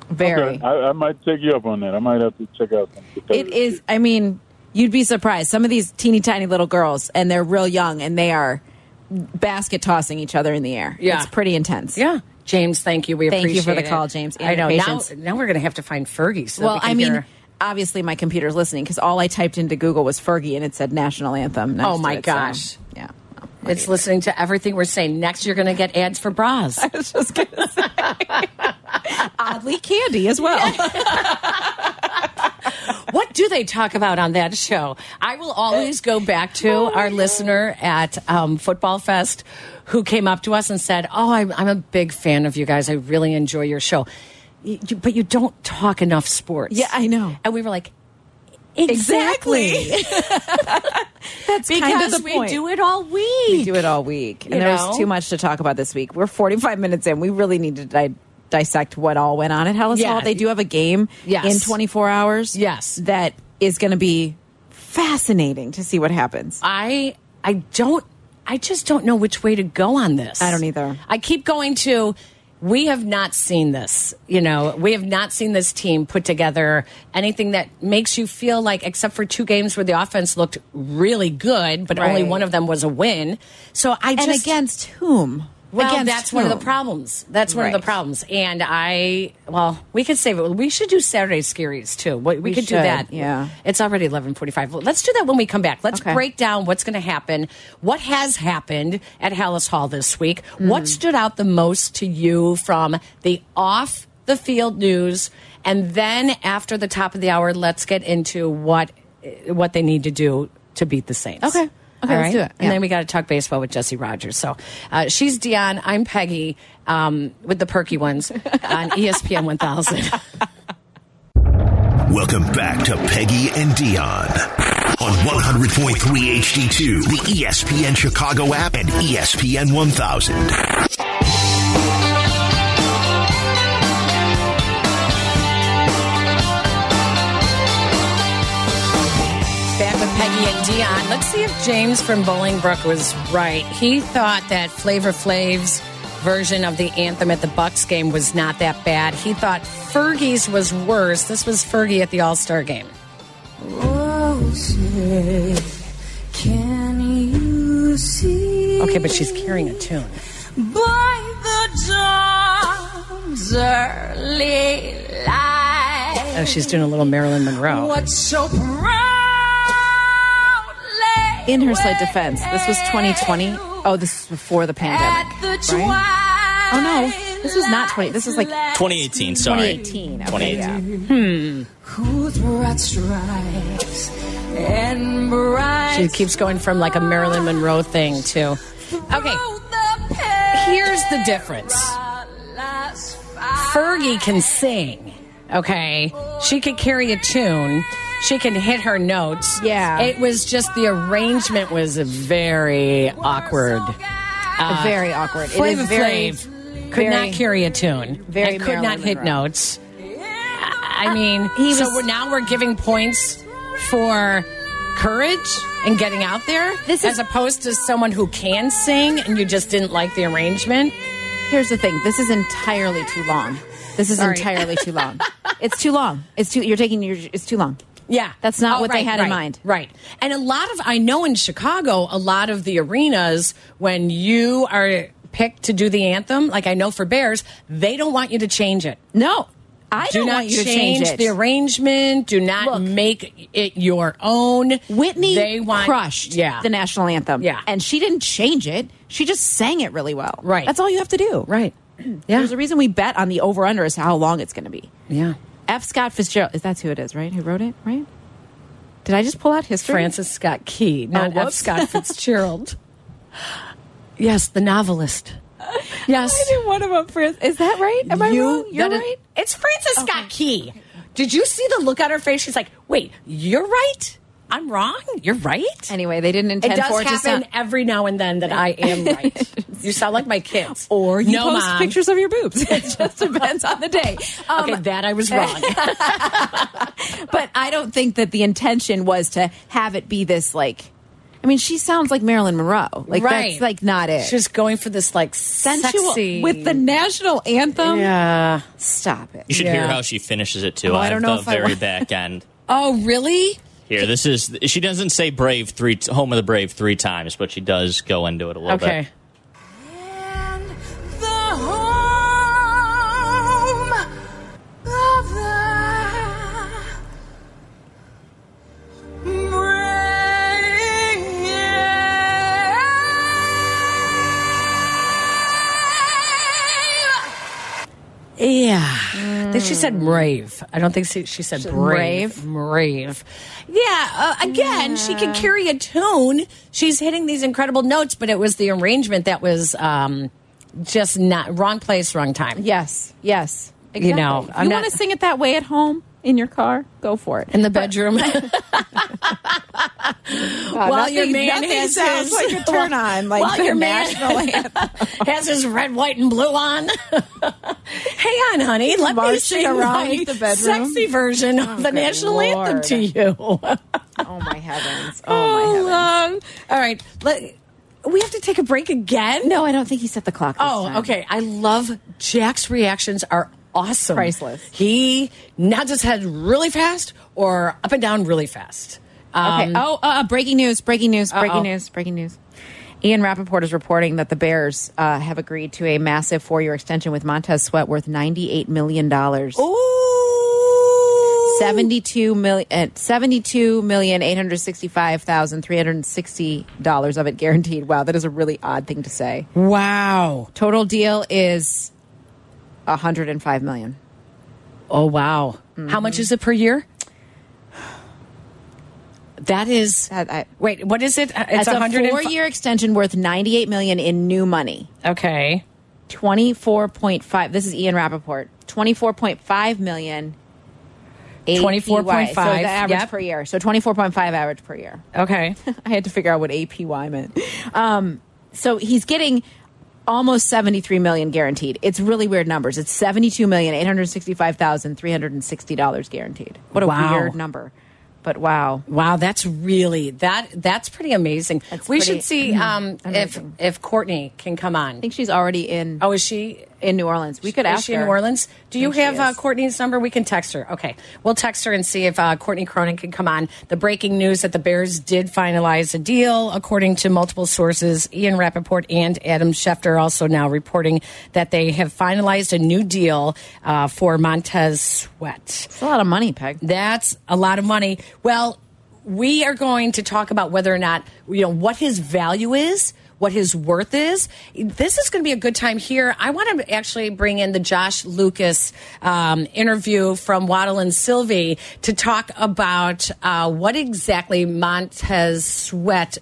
S3: Very.
S8: Okay. I, I might take you up on that. I might have to check out some.
S3: It is. I mean, you'd be surprised. Some of these teeny tiny little girls, and they're real young, and they are basket tossing each other in the air.
S2: Yeah.
S3: it's pretty intense.
S2: Yeah, James, thank you. We
S3: Thank
S2: appreciate
S3: you for the
S2: it.
S3: call, James, and
S2: I know
S3: your
S2: now,
S3: patience.
S2: now we're going to have to find Fergie. So that
S3: well,
S2: we can
S3: I mean,
S2: hear-
S3: obviously my computer's listening because all I typed into Google was Fergie, and it said national anthem. next
S2: oh
S3: to
S2: my
S3: it, so-
S2: gosh, yeah. It's listening to everything we're saying. Next, you're going to get ads for bras. I
S3: was just going to say. Oddly candy as well.
S2: what do they talk about on that show? I will always go back to
S3: Oh,
S2: our listener at um, Football Fest who came up to us and said, Oh, I'm, I'm a big fan of you guys. I really enjoy your show. Y- you- but you don't talk enough sports.
S3: Yeah, I know.
S2: And we were like,
S3: Exactly.
S2: That's
S3: kind
S2: because
S3: of the
S2: we
S3: point.
S2: do it all week.
S3: We do it all week. And
S2: You
S3: there's
S2: know?
S3: too much to talk about this week. We're 45 minutes in. We really need to di dissect what all went on at Hellas
S2: Yeah.
S3: Hall. They do have a game
S2: Yes.
S3: in 24 hours.
S2: Yes.
S3: That is going to be fascinating to see what happens.
S2: I I don't I just don't know which way to go on this.
S3: I don't either.
S2: I keep going to we have not seen this. You know, we have not seen this team put together anything that makes you feel like except for two games where the offense looked really good, but only
S3: Right.
S2: one of them was a win. So I
S3: and
S2: just
S3: against whom?
S2: well,
S3: against
S2: that's one of the
S3: whom?
S2: problems. That's one of
S3: Right.
S2: the problems. And I, well, we could save it. We should do Saturday scaries too. We, we,
S3: We
S2: could do
S3: should,
S2: that.
S3: yeah.
S2: it's already eleven forty-five. Well, let's do that when we come back. Let's
S3: Okay.
S2: break down what's going to happen. What has happened at Hallis Hall this week?
S3: Hmm.
S2: What stood out the most to you from the off the field news? And then after the top of the hour, let's get into what what they need to do to beat the Saints.
S3: Okay. Okay,
S2: All
S3: let's do it.
S2: And
S3: Yeah.
S2: then we got to talk baseball with Jesse Rogers. So uh, she's Dion. I'm Peggy um, with the perky ones on E ESPN 1000.
S1: Welcome back to Peggy and Dion on 100.3 HD2, the E ESPN Chicago app and E ESPN 1000.
S2: Back with Peggy and Dion. Let's see if James from Bolingbrook was right. He thought that Flavor Flav's version of the anthem at the Bucks game was not that bad. He thought Fergie's was worse. This was Fergie at the All Star game.
S11: Oh, Can you see?
S2: Okay, but she's carrying a tune.
S11: By the dawn's early light,
S2: Oh, she's doing a little Marilyn Monroe.
S11: what so proudly
S3: In her slight defense, this was 2020. Oh, this is before the pandemic.
S11: at the
S3: Right?
S11: twilight
S3: Oh no, this was not 20. This is like
S12: 2018, sorry.
S3: 2018. Okay,
S12: 2018.
S11: whose broad stripes and bright
S2: She keeps going from like a Marilyn Monroe thing to. Okay, here's the difference. Fergie can sing. Okay, she could carry a tune. She can hit her notes.
S3: Yeah.
S2: it was just the arrangement was very awkward. Uh,
S3: very awkward. It
S2: Flava
S3: is very-
S2: Flav could
S3: very-
S2: not carry a tune.
S3: very
S2: and could not
S3: Marilyn
S2: hit
S3: Monroe.
S2: notes. I mean, so we're, now we're giving points for courage and getting out there, as opposed to someone who can sing and you just didn't like the arrangement.
S3: Here's the thing. This is entirely too long. This is
S2: Sorry.
S3: entirely too long. it's too long. It's too. You're taking your. It's too long.
S2: Yeah,
S3: That's not
S2: Oh,
S3: what
S2: right,
S3: they had
S2: right,
S3: in mind.
S2: Right, and a lot of I know in Chicago, a lot of the arenas when you are picked to do the anthem, like I know for Bears, they don't want you to change it.
S3: No, I
S2: do
S3: don't
S2: not
S3: want you to change it.
S2: the arrangement. Do not make it your own.
S3: Whitney
S2: they want,
S3: crushed
S2: Yeah,
S3: the national anthem.
S2: Yeah.
S3: and she didn't change it. She just sang it really well.
S2: Right.
S3: That's all you have to do.
S2: Right.
S3: There's a reason we bet on the over under is how long it's going to be.
S2: Yeah.
S3: F. Scott Fitzgerald. Is that's who it is, right? Who wrote it? Right. Did I just pull out history?
S2: Francis Scott Key, not
S3: Oh,
S2: F.
S3: whoops.
S2: Scott Fitzgerald. yes, the novelist. Yes.
S3: I did one of them. Fran- Is that right? Am I wrong? You're
S2: that is-
S3: right.
S2: it's Frances Scott Key. Did you see the look on her face? She's like, wait, you're right. I'm wrong. You're right.
S3: Anyway, they didn't
S2: It
S3: intend
S2: does
S3: for it to
S2: happen
S3: sound-
S2: every now and then that I am right. you sound like my kids.
S10: Or you
S2: no,
S10: post
S2: Mom.
S10: pictures of your boobs. It just depends on the day. Um,
S2: Okay, that I was wrong.
S3: but I don't think that the intention was to have it be this like. I mean, she sounds like Marilyn Monroe. Like that's like not it.
S2: She's going for this like
S3: Sensual-
S2: sexy
S10: with the national anthem.
S2: yeah.
S3: Stop it.
S12: You should hear
S2: Yeah.
S12: how she finishes it too.
S2: Oh, I
S12: I
S2: don't know
S12: the
S2: if I
S12: very
S2: want-
S12: back end.
S2: Oh, really?
S12: Here, this is. She doesn't say "brave" three t- home of the brave three times, but she does go into it a little
S2: Okay.
S12: bit.
S11: The home of the brave.
S2: Yeah.
S10: Hmm.
S2: I think she said brave. I don't think she, she said brave. Brave. Yeah. Uh, again, she can carry a tune. She's hitting these incredible notes, but it was the arrangement that was um, just not wrong place, wrong time.
S3: Yes. Yes. Exactly.
S2: You know,
S3: if
S2: I'm
S3: you
S2: not-
S3: want to sing it that way at home in your car, go for it.
S2: In the bedroom.
S10: God,
S2: While
S10: nothing-
S2: your man
S10: nothing
S2: has
S10: sounds
S2: his-
S10: like a turn on, like
S2: While
S10: the
S2: your man-
S10: national anthem.
S2: has his red, white, and blue on. Hang on, honey. Let me
S10: Marching
S2: sing
S10: around
S2: my
S10: the bedroom. Oh,
S2: sexy version of the
S3: good
S2: national anthem
S3: Lord.
S2: to you.
S3: Oh my heavens! Oh my heavens!
S2: um, all right. Let, we have to take a break again.
S3: No, I don't think he set the clock. this
S2: Oh,
S3: time.
S2: okay. I love Jack's reactions are awesome.
S3: Priceless.
S2: He nods his head really fast or up and down really fast.
S3: Okay.
S2: Um,
S3: oh, uh, breaking news! Breaking news! Breaking
S2: Uh-oh.
S3: news! Breaking news! Ian Rappaport is reporting that the Bears uh, have agreed to a massive four-year extension with Montez Sweat worth ninety-eight million dollars.
S2: Ooh.
S3: 72 million uh, 72 million dollars of it guaranteed. Wow, that is a really odd thing to say.
S2: Wow.
S3: Total deal is 105 million.
S2: Oh, wow. How
S3: Mm-hmm.
S2: much is it per year? That is.
S3: That I-
S2: wait, what is it? Uh, It's
S3: That's a
S2: 100
S3: four-year extension worth 98 million in new money.
S2: Okay.
S3: 24.5 this is Ian Rappaport. 24.5 million APY,
S2: 24.5,
S3: so the average
S2: yep.
S3: per year. So 24.5 average per year.
S2: Okay.
S3: I had to figure out what APY meant. Um, so he's getting almost 73 million guaranteed. It's really weird numbers. It's 72,865,360 dollars guaranteed. What a
S2: Wow.
S3: weird number. But wow.
S2: Wow, that's really that. That's pretty amazing.
S3: That's
S2: we
S3: pretty mm-hmm.
S2: should see um, if
S3: amazing.
S2: if Courtney can come on.
S3: I think she's already in
S2: Oh, is she?
S3: in New Orleans. We could
S2: is
S3: ask
S2: she
S3: her.
S2: in New Orleans? Do
S3: I
S2: you
S3: think she
S2: have uh,
S3: is.
S2: Courtney's number? We can text her. Okay, we'll text her and see if uh, Courtney Cronin can come on. The breaking news that the Bears did finalize a deal, according to multiple sources. Ian Rappaport and Adam Schefter also now reporting that they have finalized a new deal uh, for Montez Sweat.
S3: It's a lot of money, Peg.
S2: That's a lot of money. Well, we are going to talk about whether or not, you know, what his value is, what his worth is. This is going to be a good time here. I want to actually bring in the Josh Lucas um, interview from Waddle and Sylvie to talk about uh, what exactly Montez Sweat.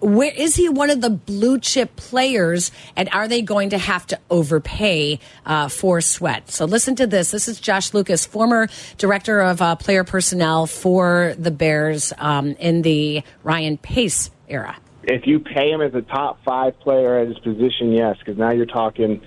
S2: Where is he one of the blue chip players, and are they going to have to overpay uh, for Sweat? So listen to this. This is Josh Lucas, former director of uh, player personnel for the Bears um, in the Ryan Pace era.
S13: if you pay him as a top five player at his position, yes, because now you're talking,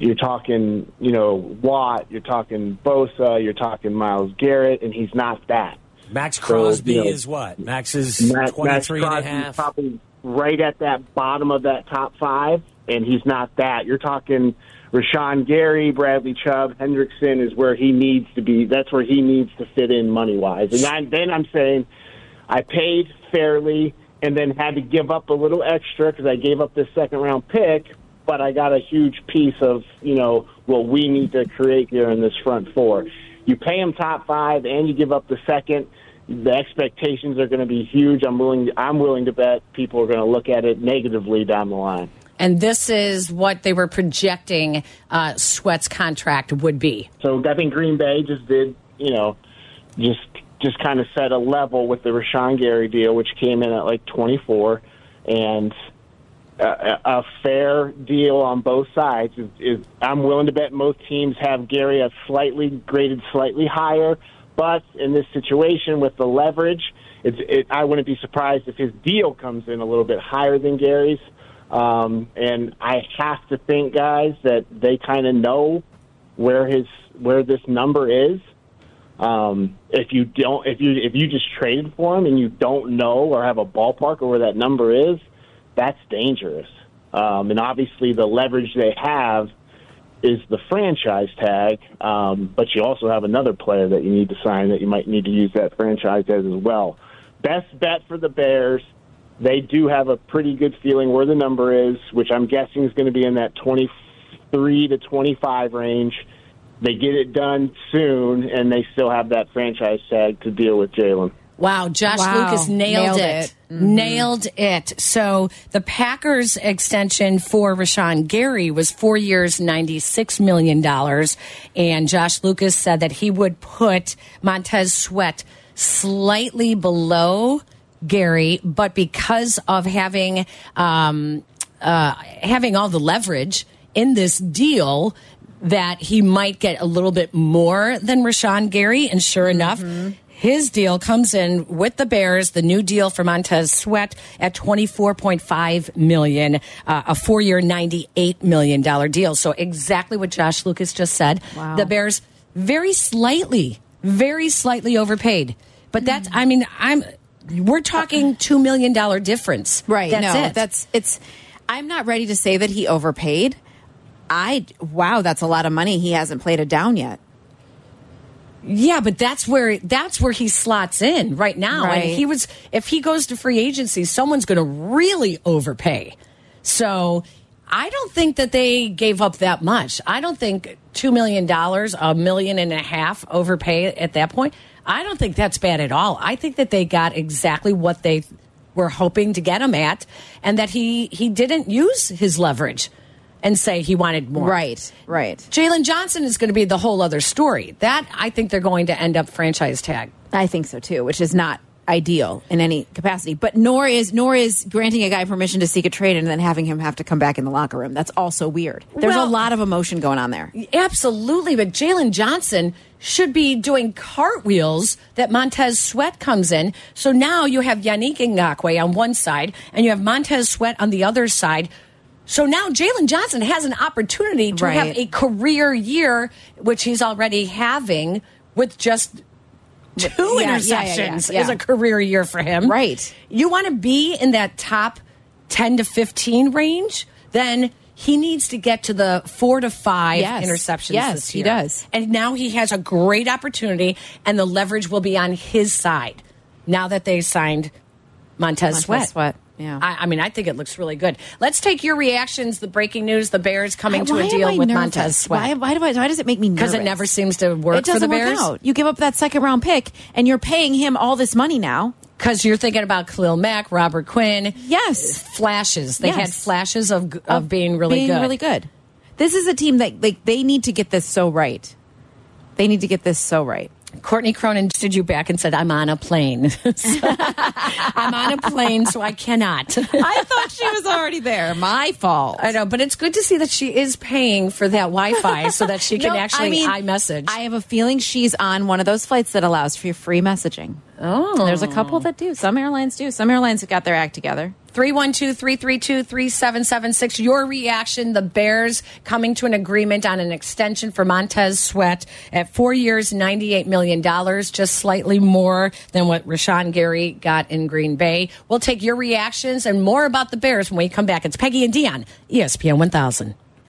S13: you're talking, you know, Watt, you're talking Bosa, you're talking Miles Garrett, and he's not that.
S14: Max
S13: So,
S14: Crosby
S13: you know,
S14: is what? Max is
S13: Max, Max
S14: 23 and a
S13: Crosby's
S14: half.
S13: probably right at that bottom of that top five, and he's not that. You're talking Rashawn Gary, Bradley Chubb, Hendrickson is where he needs to be. That's where he needs to fit in money wise. And I, then I'm saying, I paid fairly, and then had to give up a little extra because I gave up this second round pick, but I got a huge piece of you know what we need to create here in this front four. You pay him top five, and you give up the second the expectations are going to be huge. I'm willing. I'm willing to bet people are going to look at it negatively down the line.
S2: And this is what they were projecting uh, Sweat's contract would be.
S13: So I think Green Bay just did. You know, just
S8: just kind of set a level with the Rashawn Gary deal, which came in at like 24, and a, a fair deal on both sides is, is. I'm willing to bet most teams have Gary at slightly graded slightly higher, but in this situation with the leverage, it's, it, I wouldn't be surprised if his deal comes in a little bit higher than Gary's. Um, and I have to think, guys, that they kind of know where his where this number is. Um, if you don't, if you if you just traded for him and you don't know or have a ballpark or where that number is, that's dangerous. Um, and obviously, the leverage they have is the franchise tag, um, but you also have another player that you need to sign that you might need to use that franchise as as well. Best bet for the Bears. They do have a pretty good feeling where the number is, which I'm guessing is going to be in that 23 to 25 range. They get it done soon, and they still have that franchise tag to deal with Jalen.
S2: Wow, Josh
S8: Wow.
S2: Lucas nailed,
S8: Nailed
S2: it.
S8: it. Mm-hmm.
S2: Nailed it. So the Packers extension for Rashawn Gary was four years, $96 million. And Josh Lucas said that he would put Montez Sweat slightly below Gary, but because of having, um, uh, having all the leverage in this deal, that he might get a little bit more than Rashawn Gary. And sure enough, his deal comes in with the Bears, the new deal for Montez Sweat at twenty four point five million, uh, a four year ninety eight million dollar deal. So exactly what Josh Lucas just said. The Bears very slightly, very slightly overpaid. But that's I mean, I'm we're talking two million dollar difference.
S3: Right.
S2: That's
S3: no,
S2: it.
S3: that's it's. I'm not ready to say that he overpaid. I wow, that's a lot of money. He hasn't played it down yet.
S2: Yeah, but that's where that's where he slots in right now.
S3: Right.
S2: And he was if he goes to free agency, someone's going to really overpay. So I don't think that they gave up that much. I don't think two million dollars, a million and a half overpay at that point. I don't think that's bad at all. I think that they got exactly what they were hoping to get him at, and that he he didn't use his leverage and say he wanted more.
S3: Right, right.
S2: Jalen Johnson is going to be the whole other story. That I think they're going to end up franchise tag.
S3: I think so too, which is not ideal in any capacity. But nor is nor is granting a guy permission to seek a trade and then having him have to come back in the locker room. That's also weird. There's a
S2: Well-
S3: lot of emotion going on there.
S2: Absolutely, but Jalen Johnson should be doing cartwheels that Montez Sweat comes in. So now you have Yannick Ngakwe on one side and you have Montez Sweat on the other side. So now Jalen Johnson has an opportunity to have
S3: Right.
S2: a career year, which he's already having with just two
S3: yeah,
S2: interceptions
S3: yeah, yeah, yeah.
S2: is a career year for him. Right. You want to be in that top 10 to 15 range, then he needs to get to the four to five
S3: Yes.
S2: interceptions
S3: Yes,
S2: this
S3: he
S2: year.
S3: does.
S2: And now he has a great opportunity, and the leverage will be on his side now that they signed Montez,
S3: Montez
S2: Sweat.
S3: Sweat, yeah.
S2: I, I mean, I think it looks really good. Let's take your reactions. The breaking news: the Bears coming to
S3: Why
S2: a
S3: am
S2: deal
S3: I
S2: with
S3: nervous?
S2: Montez Sweat.
S3: Why, why do I? Why does it make me nervous?
S2: 'Cause it never seems to work
S3: It
S2: for
S3: doesn't
S2: the
S3: work
S2: Bears.
S3: out. You give up that second round pick, and you're paying him all this money now.
S2: Because you're thinking about Khalil Mack, Robert Quinn.
S3: Yes,
S2: flashes. They
S3: Yes.
S2: had flashes of of, being really
S3: being
S2: good.
S3: really good. This is a team that like they need to get this so right. They need to get this so right.
S2: Courtney Cronin stood you back and said, "I'm on a plane. I'm on a plane, so I cannot."
S15: I thought she was already there. My fault.
S2: I know, but it's good to see that she is paying for that Wi-Fi so that she can
S3: No,
S2: actually
S3: I mean,
S2: iMessage.
S3: I have a feeling she's on one of those flights that allows for your free messaging.
S2: Oh,
S3: there's a couple that do. Some airlines do. Some airlines have got their act together.
S2: 312 332 3776. Your reaction the Bears coming to an agreement on an extension for Montez Sweat at four years, $98 million, just slightly more than what Rashawn Gary got in Green Bay. E We'll take your reactions and more about the Bears when we come back. It's Peggy and Dion, ESPN 1000.